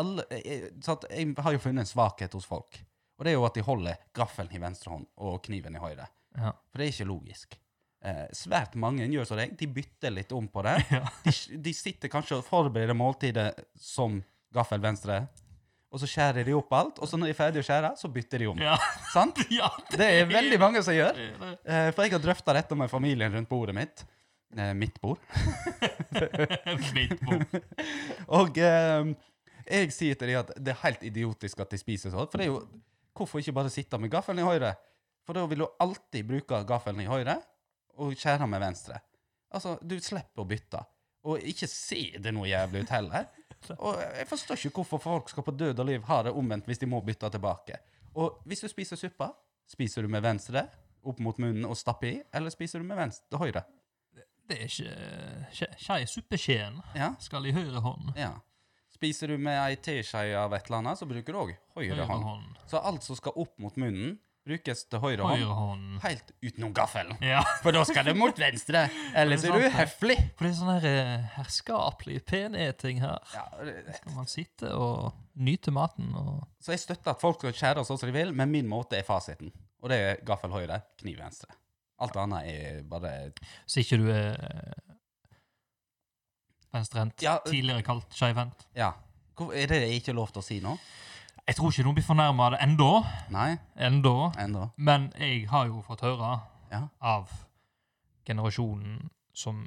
[SPEAKER 1] alle, eh, eh, så at jeg har jo funnet en svakhet hos folk. Og det er jo at de holder gaffelen i venstre hånd og kniven i høyre.
[SPEAKER 2] Ja.
[SPEAKER 1] For det er ikke logisk. Eh, svært mange gjør som deg. De bytter litt om på det.
[SPEAKER 2] Ja.
[SPEAKER 1] De, de sitter kanskje og forbereder måltidet som gaffel venstre, og så skjærer de opp alt, og så når de er ferdige å skjære, så bytter de om.
[SPEAKER 2] Ja.
[SPEAKER 1] Sant?
[SPEAKER 2] ja.
[SPEAKER 1] Det er veldig mange som gjør.
[SPEAKER 2] det-
[SPEAKER 1] Eh, for jeg har drøfta dette med familien rundt bordet mitt. Eh, mitt bord.
[SPEAKER 2] Mitt bord.
[SPEAKER 1] Og eh, jeg sier til dem at det er helt idiotisk at de spiser sånn. For det er jo Hvorfor ikke bare sitte med gaffelen i høyre? For da vil du alltid bruke gaffelen i høyre og skjære med venstre. Altså, du slipper å bytte. Og ikke ser det noe jævlig ut heller. Og jeg forstår ikke hvorfor folk skal på død og liv ha det omvendt hvis de må bytte tilbake. Og hvis du spiser suppa, spiser du med venstre opp mot munnen og stapper i, eller spiser du med venstre, høyre?
[SPEAKER 2] Det er ikke skje- skje- Suppeskjeen
[SPEAKER 1] Ja.
[SPEAKER 2] skal i høyre hånd.
[SPEAKER 1] Ja. Spiser du med ei teskje av et eller annet, så bruker du òg høyre
[SPEAKER 2] Høyre
[SPEAKER 1] hånd.
[SPEAKER 2] hånd.
[SPEAKER 1] Så alt som skal opp mot munnen, brukes til høyre hånd,
[SPEAKER 2] Høyre hånd.
[SPEAKER 1] helt utenom gaffelen.
[SPEAKER 2] Ja.
[SPEAKER 1] For da skal det mot venstre, ellers
[SPEAKER 2] Det er
[SPEAKER 1] er du
[SPEAKER 2] sant,
[SPEAKER 1] uhøflig.
[SPEAKER 2] For det er sånn her eh, herskapelig peneting her.
[SPEAKER 1] Ja, det-
[SPEAKER 2] Skal man sitte og nyte maten og
[SPEAKER 1] så jeg støtter at folk skal skjære sånn som de vil, men min måte er fasiten. Og det er gaffel høyre, kniv venstre. Alt annet er bare
[SPEAKER 2] Så ikke du er eh, venstrehendt.
[SPEAKER 1] Ja, eh,
[SPEAKER 2] Tidligere kalt skeivhendt.
[SPEAKER 1] ja. Hvor- Er det ikke lov til å si nå?
[SPEAKER 2] Jeg tror ikke noen blir fornærma av det ennå.
[SPEAKER 1] Nei,
[SPEAKER 2] Enda.
[SPEAKER 1] ennå.
[SPEAKER 2] Men jeg har jo fått høre
[SPEAKER 1] Ja.
[SPEAKER 2] av generasjonen som,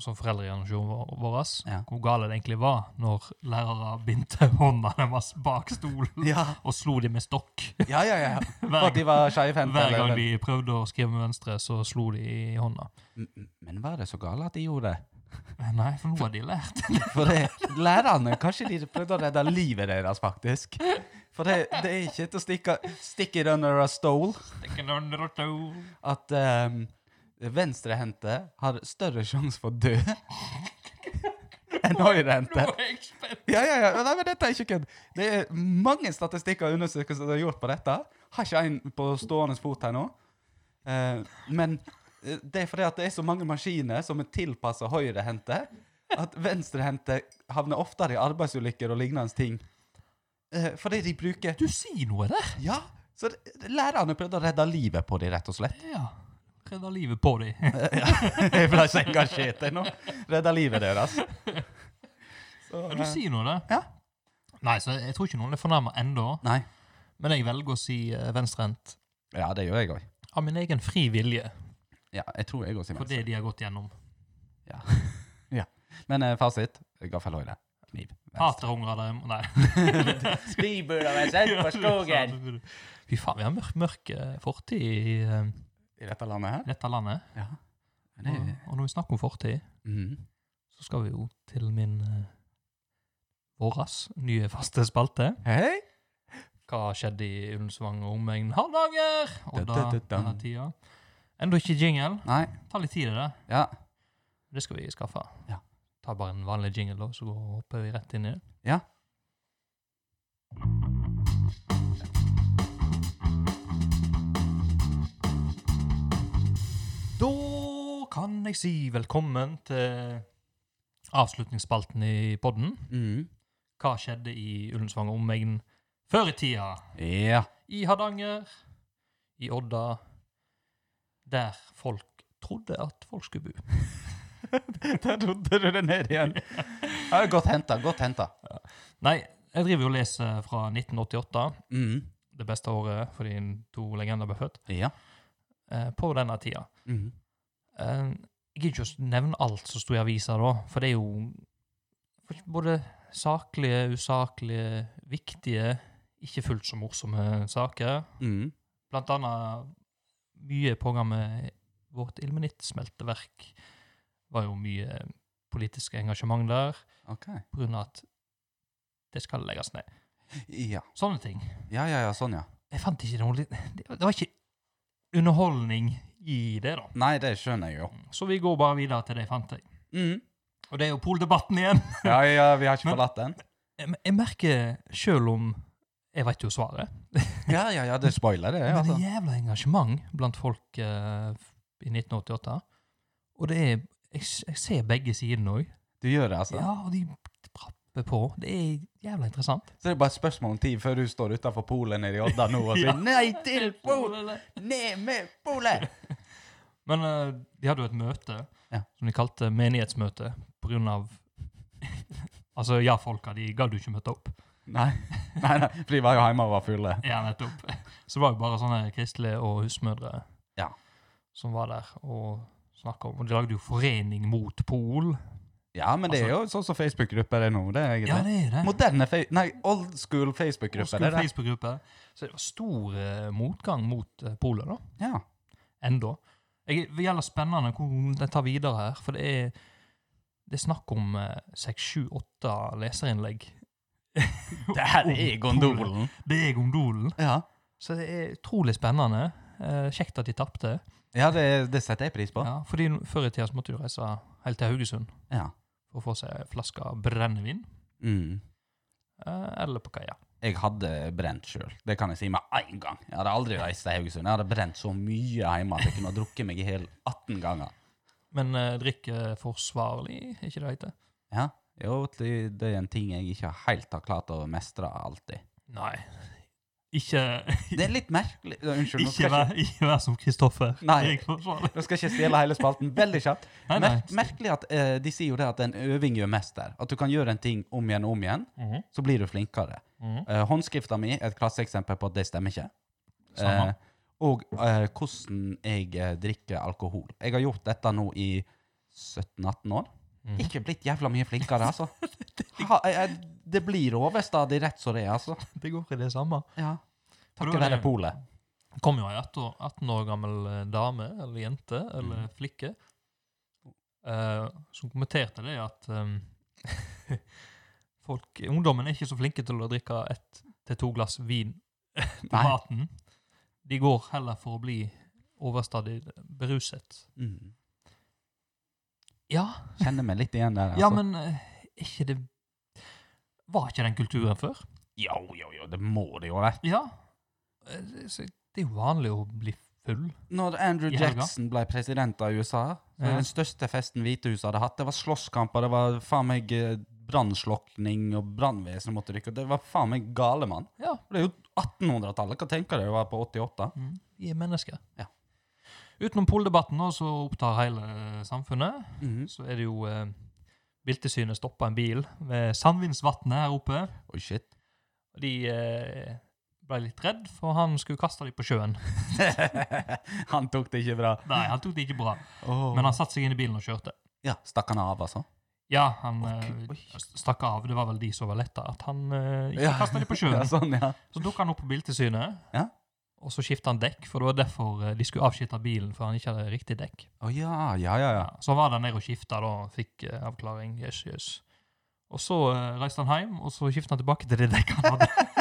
[SPEAKER 2] som foreldregenerasjonen vår, våres,
[SPEAKER 1] Ja.
[SPEAKER 2] hvor gale det egentlig var når lærere bindte hånda deres bak stolen
[SPEAKER 1] Ja,
[SPEAKER 2] og slo dem med stokk.
[SPEAKER 1] ja, ja. ja. For
[SPEAKER 2] Hver,
[SPEAKER 1] at de var skeivhendte.
[SPEAKER 2] hver gang
[SPEAKER 1] eller-
[SPEAKER 2] de prøvde å skrive med venstre, så slo de i hånda.
[SPEAKER 1] M- Men var det så gale at de gjorde det?
[SPEAKER 2] Nei, for nå har de lært.
[SPEAKER 1] For det, lærerne, kanskje de prøvde å redde livet deres, faktisk. For det, det er ikke til å stikke stick it under a stole
[SPEAKER 2] ja,
[SPEAKER 1] at um, venstrehendte har større sjanse for å dø enn høyrehendte. Ja, ja, ja. Nei, men dette er ikke kødd. Det er mange statistikker og undersøkelser som er gjort på dette. Har ikke en på stående fot her nå. Eh, men eh, det er fordi at det er så mange maskiner som er tilpassa høyrehendte, at venstrehendte havner oftere i arbeidsulykker og lignende ting. Eh, fordi de bruker
[SPEAKER 2] Du sier noe der!
[SPEAKER 1] Ja! Så det- lærerne prøvde å redde livet på dem, rett og slett.
[SPEAKER 2] Ja. Redda livet på dem.
[SPEAKER 1] Jeg ble så engasjert ennå. Redde livet deres. Så,
[SPEAKER 2] Ja, du
[SPEAKER 1] eh,
[SPEAKER 2] sier noe der.
[SPEAKER 1] Ja.
[SPEAKER 2] Nei, så jeg tror ikke noen er fornærma ennå,
[SPEAKER 1] Nei.
[SPEAKER 2] men jeg velger å si eh, venstrehendt.
[SPEAKER 1] Ja, det gjør jeg òg.
[SPEAKER 2] av min egen fri vilje
[SPEAKER 1] Ja, jeg tror jeg går
[SPEAKER 2] for det de har gått gjennom.
[SPEAKER 1] Ja. ja. Men eh, fasit gaffel høyre. Kniv.
[SPEAKER 2] Haterhungrer dem Nei.
[SPEAKER 1] Spibula meg selv
[SPEAKER 2] Fy faen, vi har mørk, mørk eh, fortid i eh,
[SPEAKER 1] I dette landet her?
[SPEAKER 2] dette landet.
[SPEAKER 1] Ja.
[SPEAKER 2] Og, og når vi snakker om fortid,
[SPEAKER 1] Mhm.
[SPEAKER 2] så skal vi jo til min eh, våras nye faste spalte.
[SPEAKER 1] Hei!
[SPEAKER 2] Hva skjedde i Ullensvang og omegn Hardanger? Og da,
[SPEAKER 1] Da-da-da-dam.
[SPEAKER 2] denne tida. Enda ikke jingle.
[SPEAKER 1] Nei.
[SPEAKER 2] Ta litt tid i det.
[SPEAKER 1] Ja.
[SPEAKER 2] Det skal vi skaffe.
[SPEAKER 1] Ja.
[SPEAKER 2] Ta bare en vanlig jingle, da, så går, hopper vi rett inn i det.
[SPEAKER 1] Ja.
[SPEAKER 2] Da kan jeg si velkommen til avslutningsspalten i podden.
[SPEAKER 1] Mhm.
[SPEAKER 2] Hva skjedde i Ullensvang og omegn før i tida?
[SPEAKER 1] Ja.
[SPEAKER 2] I Hardanger, i Odda, der folk trodde at folk skulle bo.
[SPEAKER 1] Der rodde du det ned igjen. Ja, godt henta. Godt henta.
[SPEAKER 2] Nei, jeg driver jo og leser fra 1988,
[SPEAKER 1] Mhm.
[SPEAKER 2] det beste året fordi to legender ble født,
[SPEAKER 1] Ja.
[SPEAKER 2] eh, på denne tida.
[SPEAKER 1] Mhm.
[SPEAKER 2] Eh, Jeg gidder ikke å nevne alt som sto i avisa da, for det er jo både saklige, usaklige, viktige, ikke fullt så morsomme saker.
[SPEAKER 1] Mm.
[SPEAKER 2] Blant annet mye i programmet vårt Ilmenitt-smelteverk var jo mye politisk engasjement der,
[SPEAKER 1] Ok.
[SPEAKER 2] på grunn av at det skal legges ned.
[SPEAKER 1] Ja.
[SPEAKER 2] Sånne ting.
[SPEAKER 1] ja, ja, ja, sånn, ja.
[SPEAKER 2] Jeg fant ikke noe litt Det var ikke underholdning i det, da.
[SPEAKER 1] Nei, det skjønner jeg jo.
[SPEAKER 2] Så vi går bare videre til det jeg fant. Jeg.
[SPEAKER 1] Mm.
[SPEAKER 2] Og det er jo poldebatten igjen.
[SPEAKER 1] Ja, ja, vi har ikke
[SPEAKER 2] Men-
[SPEAKER 1] forlatt den.
[SPEAKER 2] Jeg, jeg merker, sjøl om jeg vet jo svaret,
[SPEAKER 1] Ja, ja, ja, det spoiler det,
[SPEAKER 2] Men
[SPEAKER 1] altså.
[SPEAKER 2] det er jævla engasjement blant folk eh, i 1988. Og det er Jeg, s- jeg ser begge sidene òg.
[SPEAKER 1] Du gjør det, altså.
[SPEAKER 2] Ja, og de prapper på. Det er jævla interessant.
[SPEAKER 1] Så det er bare et spørsmål om tid før du står utenfor polet nede i Odda nå og sier
[SPEAKER 2] Ja.
[SPEAKER 1] 'nei til polet, ned med polet'!
[SPEAKER 2] Men eh, de hadde jo et møte
[SPEAKER 1] Ja.
[SPEAKER 2] som de kalte menighetsmøte på grunn av Altså, ja-folka, de gadd jo ikke møte opp.
[SPEAKER 1] Nei. nei, nei, for de var jo hjemme og var fulle.
[SPEAKER 2] Ja, nettopp. Så det var jo bare sånne kristelige og husmødre
[SPEAKER 1] Ja.
[SPEAKER 2] som var der og snakka om Og de lagde jo forening mot pol.
[SPEAKER 1] Ja, men det er jo sånn som Facebook-grupper er nå. det er
[SPEAKER 2] Ja,
[SPEAKER 1] egentlig.
[SPEAKER 2] det er det.
[SPEAKER 1] Moderne fe nei, old school
[SPEAKER 2] Norske
[SPEAKER 1] Facebook-grupper. det er det.
[SPEAKER 2] Facebook-gruppe. Så det var stor eh, motgang mot eh, polet, da.
[SPEAKER 1] Ja.
[SPEAKER 2] Enda. Jeg, det gjelder spennende hvordan den tar videre her, for det er, det er snakk om eh, seks, sju, åtte leserinnlegg.
[SPEAKER 1] Det her er
[SPEAKER 2] Om polet.
[SPEAKER 1] gondolen.
[SPEAKER 2] Det er gondolen.
[SPEAKER 1] Ja,
[SPEAKER 2] Så det er utrolig spennende. Eh, kjekt at de tapte.
[SPEAKER 1] ja det, det setter jeg pris på.
[SPEAKER 2] Ja, fordi no- før i tida så måtte du reise helt til Haugesund
[SPEAKER 1] Ja.
[SPEAKER 2] for å få seg ei flaske brennevin,
[SPEAKER 1] Mm.
[SPEAKER 2] eh, eller på kaia.
[SPEAKER 1] Jeg hadde brent sjøl, det kan jeg si med én gang. Jeg hadde aldri reist til Haugesund. Jeg hadde brent så mye hjemme at jeg kunne ha drukket meg i hel 18 ganger.
[SPEAKER 2] Men eh, drikke forsvarlig, er ikke det det heter?
[SPEAKER 1] Ja, jo, det det er en ting jeg ikke helt har klart å mestre alltid.
[SPEAKER 2] Nei. Ikke
[SPEAKER 1] Det er litt merkelig Ja, Unnskyld, nå
[SPEAKER 2] Ikke
[SPEAKER 1] skal jeg
[SPEAKER 2] vær, ikke vær som Kristoffer.
[SPEAKER 1] Nei.
[SPEAKER 2] Jeg forsvarer.
[SPEAKER 1] ikke, nå skal jeg ikke stjele hele spalten. Veldig kjapt.
[SPEAKER 2] Nei, nei.
[SPEAKER 1] Merk, merkelig at eh, de sier jo det at en øving gjør mester. At du kan gjøre en ting om igjen og om igjen,
[SPEAKER 2] Mhm,
[SPEAKER 1] så blir du flinkere.
[SPEAKER 2] mhm.
[SPEAKER 1] Eh, håndskrifta mi er et klasseeksempel på at det stemmer ikke.
[SPEAKER 2] Samme.
[SPEAKER 1] Eh, og eh, hvordan jeg eh, drikker alkohol. Jeg har gjort dette nå i 17-18 år.
[SPEAKER 2] Mhm.
[SPEAKER 1] Ikke blitt jævla mye flinkere, altså. Ha, jeg, jeg, det blir overstadig rett som det er, altså.
[SPEAKER 2] Det går i det samme.
[SPEAKER 1] Ja.
[SPEAKER 2] For
[SPEAKER 1] Takket
[SPEAKER 2] da er
[SPEAKER 1] være
[SPEAKER 2] det-
[SPEAKER 1] polet.
[SPEAKER 2] Det kom jo ei 18 år- 18 år gammel eh, dame, eller jente, eller flikke, eh, som kommenterte det at eh, folk, ungdommen er ikke så flinke til å drikke ett til to glass vin på
[SPEAKER 1] Nei.
[SPEAKER 2] maten. De går heller for å bli overstadig beruset.
[SPEAKER 1] Mm.
[SPEAKER 2] Ja,
[SPEAKER 1] Kjenner meg litt igjen der. Altså.
[SPEAKER 2] ja men eh, er ikke det Var ikke den kulturen før?
[SPEAKER 1] Jo, jo, jo, det må det jo ha vært.
[SPEAKER 2] Ja. Eh, det- så Det er jo vanlig å bli full.
[SPEAKER 1] Når Andrew
[SPEAKER 2] I helga.
[SPEAKER 1] Jackson ble president av USA, så
[SPEAKER 2] Ja.
[SPEAKER 1] den største festen Hvitehuset hadde hatt, det var slåsskamper, det var faen meg eh, brannslokning og brannvesen måtte rykke Det var faen meg gale, mann.
[SPEAKER 2] Ja.
[SPEAKER 1] Det er jo 1800-tallet. Hva tenker du det var på 88?
[SPEAKER 2] Mm. Vi er mennesker.
[SPEAKER 1] Ja.
[SPEAKER 2] Utenom poldebatten, nå, så opptar hele eh, samfunnet,
[SPEAKER 1] Mhm.
[SPEAKER 2] så er det jo eh, Biltilsynet stoppa en bil ved Sandvinsvatnet her oppe.
[SPEAKER 1] Oi, shit.
[SPEAKER 2] Og De eh, ble litt redd, for han skulle kaste dem på sjøen.
[SPEAKER 1] han tok det ikke bra.
[SPEAKER 2] Nei, han tok det ikke bra,
[SPEAKER 1] Åh.
[SPEAKER 2] men han satte seg inn i bilen og kjørte.
[SPEAKER 1] Ja, Stakk han av, altså?
[SPEAKER 2] Ja, han eh,
[SPEAKER 1] Ok, oi.
[SPEAKER 2] stakk av. Det var vel de som var letta, at han eh, ikke
[SPEAKER 1] Ja.
[SPEAKER 2] kasta dem på sjøen.
[SPEAKER 1] Ja, sånn, ja.
[SPEAKER 2] Så dukka han opp på Biltilsynet,
[SPEAKER 1] Ja.
[SPEAKER 2] og så skifta han dekk, for det var derfor eh, de skulle avskifte bilen, for han ikke hadde riktig dekk.
[SPEAKER 1] Å ja, ja, ja. ja.
[SPEAKER 2] Ja, Så han var der nede og skifta, da, og fikk eh, avklaring. Yes, yes. Og så eh, reiste han hjem, og så skifta han tilbake til det dekket han hadde.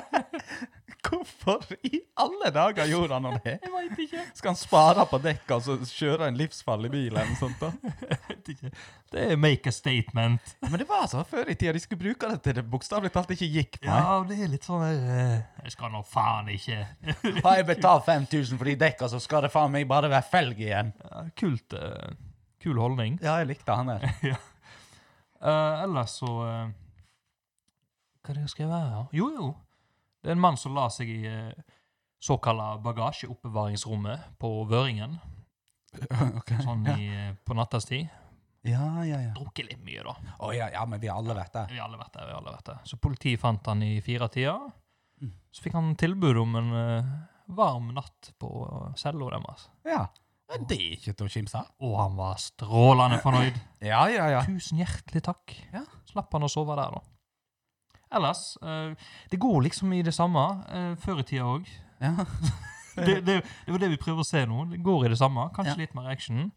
[SPEAKER 1] Hvorfor i alle dager gjorde han det?
[SPEAKER 2] Jeg veit ikke.
[SPEAKER 1] Skal han spare på dekka og så kjøre en livsfarlig bil eller noe sånt? da?
[SPEAKER 2] Vet ikke. Det er make a statement.
[SPEAKER 1] Men det var sånn før i tida de skulle bruke det til det bokstavelig talt ikke gikk. Nei.
[SPEAKER 2] Ja, det er litt sånn der eh, Jeg skal nå faen ikke
[SPEAKER 1] Har jeg betalt 5000 for de dekka, så skal det faen meg bare være felg igjen.
[SPEAKER 2] ja, Kult. eh, kul holdning.
[SPEAKER 1] Ja, jeg likte han der.
[SPEAKER 2] Eh, ellers så eh, Hva er det jeg skrev her? ja? Jo, jo. Det er en mann som la seg i uh, såkalla bagasjeoppbevaringsrommet på Vøringen
[SPEAKER 1] Ok.
[SPEAKER 2] sånn i, eh, på nattetid.
[SPEAKER 1] Ja, ja, ja.
[SPEAKER 2] Drukket litt mye, da.
[SPEAKER 1] Å ja, ja, men vi har alle vært der.
[SPEAKER 2] Vi har alle vært der. vi har alle vært der. Så politiet fant han i firetida.
[SPEAKER 1] Mm.
[SPEAKER 2] Så fikk han tilbud om en eh, varm natt på eh, cella deres.
[SPEAKER 1] Ja. Ja, Det er ikke til å kimse av.
[SPEAKER 2] Og han var strålende fornøyd.
[SPEAKER 1] Ja, ja, ja.
[SPEAKER 2] Tusen hjertelig takk.
[SPEAKER 1] Ja.
[SPEAKER 2] Slapp han å sove der, da. ellers eh, Det går liksom i det samme. eh, før i tida òg.
[SPEAKER 1] Ja.
[SPEAKER 2] Det, det, det var det vi prøver å se nå. Det går i det samme. Kanskje
[SPEAKER 1] Ja.
[SPEAKER 2] litt mer action.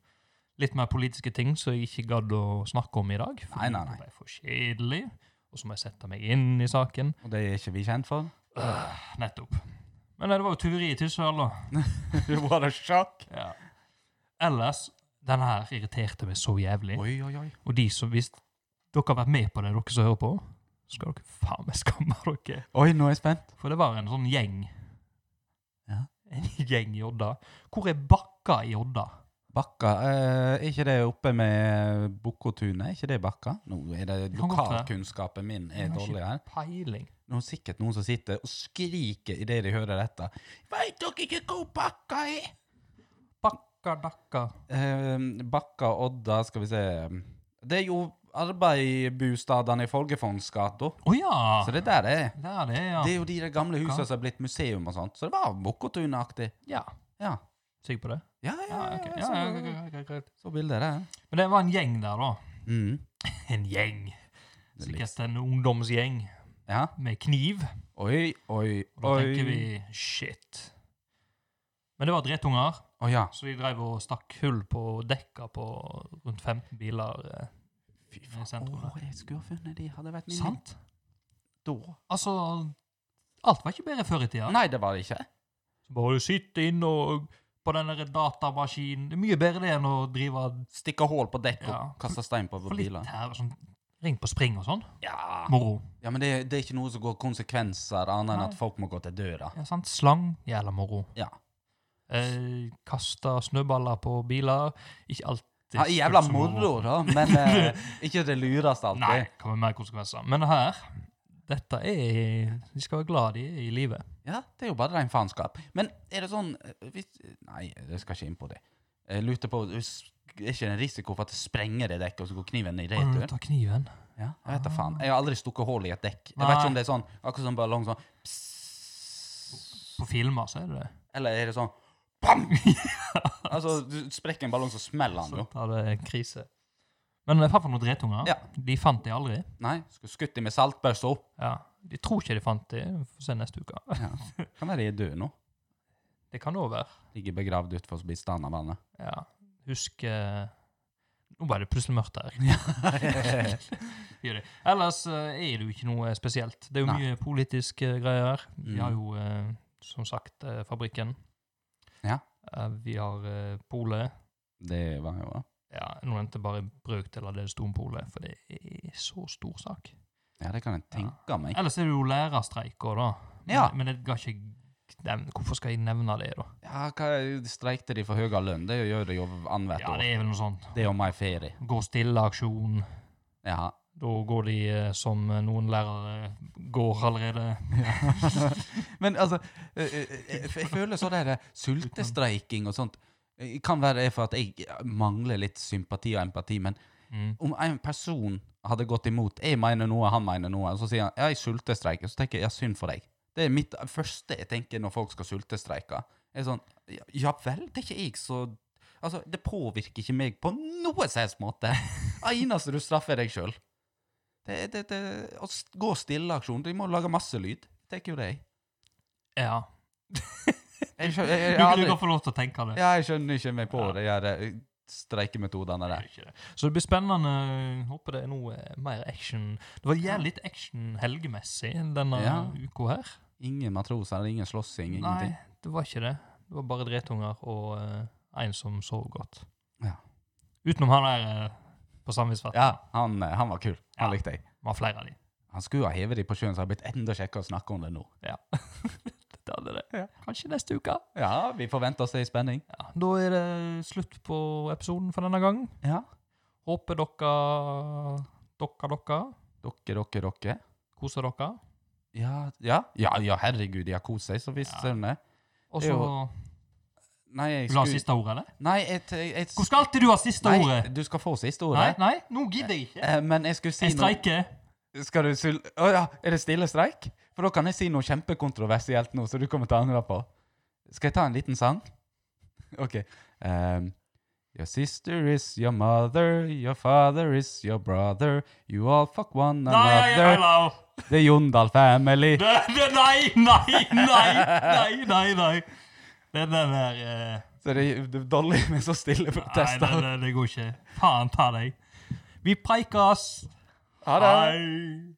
[SPEAKER 2] Litt mer politiske ting som jeg ikke gadd å snakke om i dag. fordi
[SPEAKER 1] Nei, nei, nei.
[SPEAKER 2] Det ble for kjedelig. Og så må jeg sette meg inn i saken.
[SPEAKER 1] Og det er ikke vi kjent for.
[SPEAKER 2] Nettopp. Men nei, det var jo tyveri i Tysvær, da.
[SPEAKER 1] What a shock!
[SPEAKER 2] Ja. Ellers, den her irriterte meg så jævlig.
[SPEAKER 1] Oi, oi, oi.
[SPEAKER 2] Og de som hvis dere har vært med på det, dere som hører på, skal dere faen meg skamme dere.
[SPEAKER 1] Oi, nå er jeg spent.
[SPEAKER 2] For det var en sånn gjeng.
[SPEAKER 1] Ja.
[SPEAKER 2] En gjeng i Odda. Hvor er Bakka i Odda?
[SPEAKER 1] Bakka eh, Er ikke det oppe med Bukkotunet? Er ikke det Bakka? Nå er det
[SPEAKER 2] Det kan godt være.
[SPEAKER 1] Lokalkunnskapen min er
[SPEAKER 2] Jeg har ikke
[SPEAKER 1] dårlig her.
[SPEAKER 2] Peiling.
[SPEAKER 1] Nå er det sikkert noen som sitter og skriker idet de hører dette. Veit dere ikke hvor Bakka er?
[SPEAKER 2] Bakka, dakka.
[SPEAKER 1] Eh, bakka Odda, skal vi se Det er jo arbeidsbostadene i Folgefondsgata.
[SPEAKER 2] Å ja!
[SPEAKER 1] Så det er der det er.
[SPEAKER 2] Der det er, ja.
[SPEAKER 1] Det er jo de der gamle husene
[SPEAKER 2] Bakka.
[SPEAKER 1] som er blitt museum og sånt. Så det var Bukkotunet-aktig.
[SPEAKER 2] ja.
[SPEAKER 1] Ja.
[SPEAKER 2] Sikker på det?
[SPEAKER 1] Ja, ja,
[SPEAKER 2] Ja,
[SPEAKER 1] ja.
[SPEAKER 2] ok.
[SPEAKER 1] ja,
[SPEAKER 2] Ja, ja,
[SPEAKER 1] så,
[SPEAKER 2] greit, greit, greit.
[SPEAKER 1] så bildet der.
[SPEAKER 2] Men det var en gjeng der, da.
[SPEAKER 1] Mm.
[SPEAKER 2] En gjeng.
[SPEAKER 1] Det er litt-
[SPEAKER 2] Sikkert en ungdomsgjeng
[SPEAKER 1] Ja.
[SPEAKER 2] med kniv.
[SPEAKER 1] Oi, oi,
[SPEAKER 2] Og da
[SPEAKER 1] oi.
[SPEAKER 2] tenker vi shit. Men det var drittunger,
[SPEAKER 1] Å ja.
[SPEAKER 2] så de drev og stakk hull på dekka på rundt 15 biler. eh,
[SPEAKER 1] Fy
[SPEAKER 2] faen. Åh,
[SPEAKER 1] jeg skulle ha funnet de hadde vært
[SPEAKER 2] Sant?
[SPEAKER 1] da.
[SPEAKER 2] Altså, alt var ikke bedre før i tida.
[SPEAKER 1] Nei, det var det ikke.
[SPEAKER 2] Så Bare du sitter inne og på den der datamaskinen. Det er mye bedre det enn å drive
[SPEAKER 1] Stikke hull på dekk og
[SPEAKER 2] Ja.
[SPEAKER 1] kaste stein på
[SPEAKER 2] for litt
[SPEAKER 1] biler.
[SPEAKER 2] her, sånn ring på spring og sånn.
[SPEAKER 1] Ja.
[SPEAKER 2] Moro.
[SPEAKER 1] ja, men det, det er ikke noe som går konsekvenser annet enn
[SPEAKER 2] Nei.
[SPEAKER 1] at folk må gå til døra.
[SPEAKER 2] Ja, sant? Slang, jævla moro.
[SPEAKER 1] Ja.
[SPEAKER 2] Eh, Kaste snøballer på biler. Ikke alltid
[SPEAKER 1] Ja, jævla
[SPEAKER 2] så
[SPEAKER 1] moro, da, men eh, ikke det lureste alltid.
[SPEAKER 2] Nei, det kan være mer konsekvenser. Men her dette er De skal være glad de er i livet.
[SPEAKER 1] Ja, det er jo bare rein faenskap. Men er det sånn eh, hvis, Nei, jeg skal ikke inn på det. Jeg lurte på s- Er ikke det en risiko for at det sprenger det dekket, og så går kniven i
[SPEAKER 2] Kan du
[SPEAKER 1] retur?
[SPEAKER 2] ta kniven?
[SPEAKER 1] Ja, jeg vet da faen. Jeg har aldri stukket hull i et dekk. Jeg
[SPEAKER 2] Nei.
[SPEAKER 1] vet ikke om det er sånn akkurat som ballong sånn
[SPEAKER 2] På filmer så er det det.
[SPEAKER 1] Eller er det sånn BAM! altså, du sprekker en ballong, så smeller han
[SPEAKER 2] Så
[SPEAKER 1] jo.
[SPEAKER 2] tar det en krise. Men i hvert fall noen dretunger.
[SPEAKER 1] Ja.
[SPEAKER 2] De fant de aldri.
[SPEAKER 1] Nei, skulle skutt dem med saltbøssa.
[SPEAKER 2] Ja. De tror ikke de fant de. Vi får se neste uke.
[SPEAKER 1] Ja. Kan være de er døde nå.
[SPEAKER 2] Det kan òg være.
[SPEAKER 1] Ligger begravd utenfor bistanden av vannet.
[SPEAKER 2] Ja. Husk eh, Nå ble det plutselig mørkt her. Gjør det. Ellers eh, er det jo ikke noe spesielt. Det er jo
[SPEAKER 1] Nei.
[SPEAKER 2] mye politiske eh, greier. Vi
[SPEAKER 1] Mm.
[SPEAKER 2] har jo, eh, som sagt, eh, Fabrikken.
[SPEAKER 1] Ja.
[SPEAKER 2] Eh, vi har eh, Polet.
[SPEAKER 1] Det var jo
[SPEAKER 2] Ja, nå nevnte jeg bare en brøkdel av det det sto om Polet, for det er så stor sak.
[SPEAKER 1] Ja, det kan jeg tenke meg.
[SPEAKER 2] Ellers er det jo lærerstreik òg, da. Men,
[SPEAKER 1] Ja.
[SPEAKER 2] men det ga ikke jeg nevne. Hvorfor skal jeg nevne det, da?
[SPEAKER 1] Ja, hva Streikte de for høyere lønn? Det gjør de jo annethvert
[SPEAKER 2] Ja, det
[SPEAKER 1] år.
[SPEAKER 2] er vel noe sånt.
[SPEAKER 1] Det er jo my ferie.
[SPEAKER 2] Gå stille-aksjon.
[SPEAKER 1] Ja.
[SPEAKER 2] Da går de eh, som eh, noen lærere går allerede.
[SPEAKER 1] Men altså, eh, eh, jeg, jeg føler så det der eh, sultestreiking og sånt eh, kan være det for at jeg mangler litt sympati og empati, men
[SPEAKER 2] Mm.
[SPEAKER 1] om en person hadde gått imot Jeg mener noe, han mener noe, og så sier han ja, jeg sultestreiker, så tenker jeg ja, synd for deg. Det er mitt første jeg tenker når folk skal sultestreike. Jeg er sånn ja, ja vel, det er ikke jeg så Altså, det påvirker ikke meg på noe som helst måte. Det eneste du straffer, er deg sjøl. Det, det, det, å s- gå stille-aksjon De må lage masse lyd. Tenker jo det, jeg.
[SPEAKER 2] Ja.
[SPEAKER 1] Jeg skjønner, jeg, jeg, jeg,
[SPEAKER 2] Du, du
[SPEAKER 1] aldri,
[SPEAKER 2] kan få lov til å tenke det.
[SPEAKER 1] ja, jeg skjønner ikke meg på de her eh, streikemetodene
[SPEAKER 2] Det
[SPEAKER 1] der.
[SPEAKER 2] er ikke det. Så det blir spennende. Håper det er noe eh, mer action. Det var jævlig litt action helgemessig denne
[SPEAKER 1] Ja.
[SPEAKER 2] uka her.
[SPEAKER 1] Ingen matroser, ingen slåssing,
[SPEAKER 2] Nei,
[SPEAKER 1] ingenting.
[SPEAKER 2] det var ikke det. Det var bare dretunger og eh, en som sov godt.
[SPEAKER 1] Ja.
[SPEAKER 2] Utenom han der eh, på samvittighetsfatten.
[SPEAKER 1] Ja, han, eh, han var kul. Han
[SPEAKER 2] Ja.
[SPEAKER 1] likte jeg.
[SPEAKER 2] Det var flere av de.
[SPEAKER 1] Han skulle ha hevet de på sjøen, så det har blitt enda kjekkere å snakke om det nå.
[SPEAKER 2] Det hadde det. Kanskje neste uke.
[SPEAKER 1] Ja, vi får vente og se i spenning.
[SPEAKER 2] Ja, da er det slutt på episoden for denne gang.
[SPEAKER 1] Ja.
[SPEAKER 2] Håper dere dere, dere
[SPEAKER 1] Dere, dere, dere.
[SPEAKER 2] koser dere.
[SPEAKER 1] Ja, ja, ja, ja herregud, de har kost seg, så visst
[SPEAKER 2] Ja.
[SPEAKER 1] sønne.
[SPEAKER 2] Og så
[SPEAKER 1] Jo. Nei, jeg
[SPEAKER 2] Vil du ha
[SPEAKER 1] skulle...
[SPEAKER 2] siste ordet, eller?
[SPEAKER 1] Nei, jeg... jeg, jeg
[SPEAKER 2] Hvor skal alltid du ha siste
[SPEAKER 1] nei,
[SPEAKER 2] ordet?
[SPEAKER 1] du skal få siste
[SPEAKER 2] Nei,
[SPEAKER 1] ordet.
[SPEAKER 2] nei, nå gidder jeg ikke.
[SPEAKER 1] Eh, Men jeg skulle si
[SPEAKER 2] Jeg streiker.
[SPEAKER 1] noe... Skal du... sul- Å ja, er det stille streik? For da kan jeg si noe kjempekontroversielt nå, så du kommer til å angre på. Skal jeg ta en liten sang? Ok. Um, Your sister is your mother, your father is your brother. You all fuck one
[SPEAKER 2] Nei,
[SPEAKER 1] another.
[SPEAKER 2] hello!
[SPEAKER 1] The Jondal family.
[SPEAKER 2] Det, det, nei, nei, nei, nei, nei, nei. Det er den der eh,
[SPEAKER 1] Så det er Dolly med så stille
[SPEAKER 2] Nei, det,
[SPEAKER 1] protester.
[SPEAKER 2] det, det går ikke. Faen ta deg. Vi preikas.
[SPEAKER 1] Ha det.
[SPEAKER 2] Hei.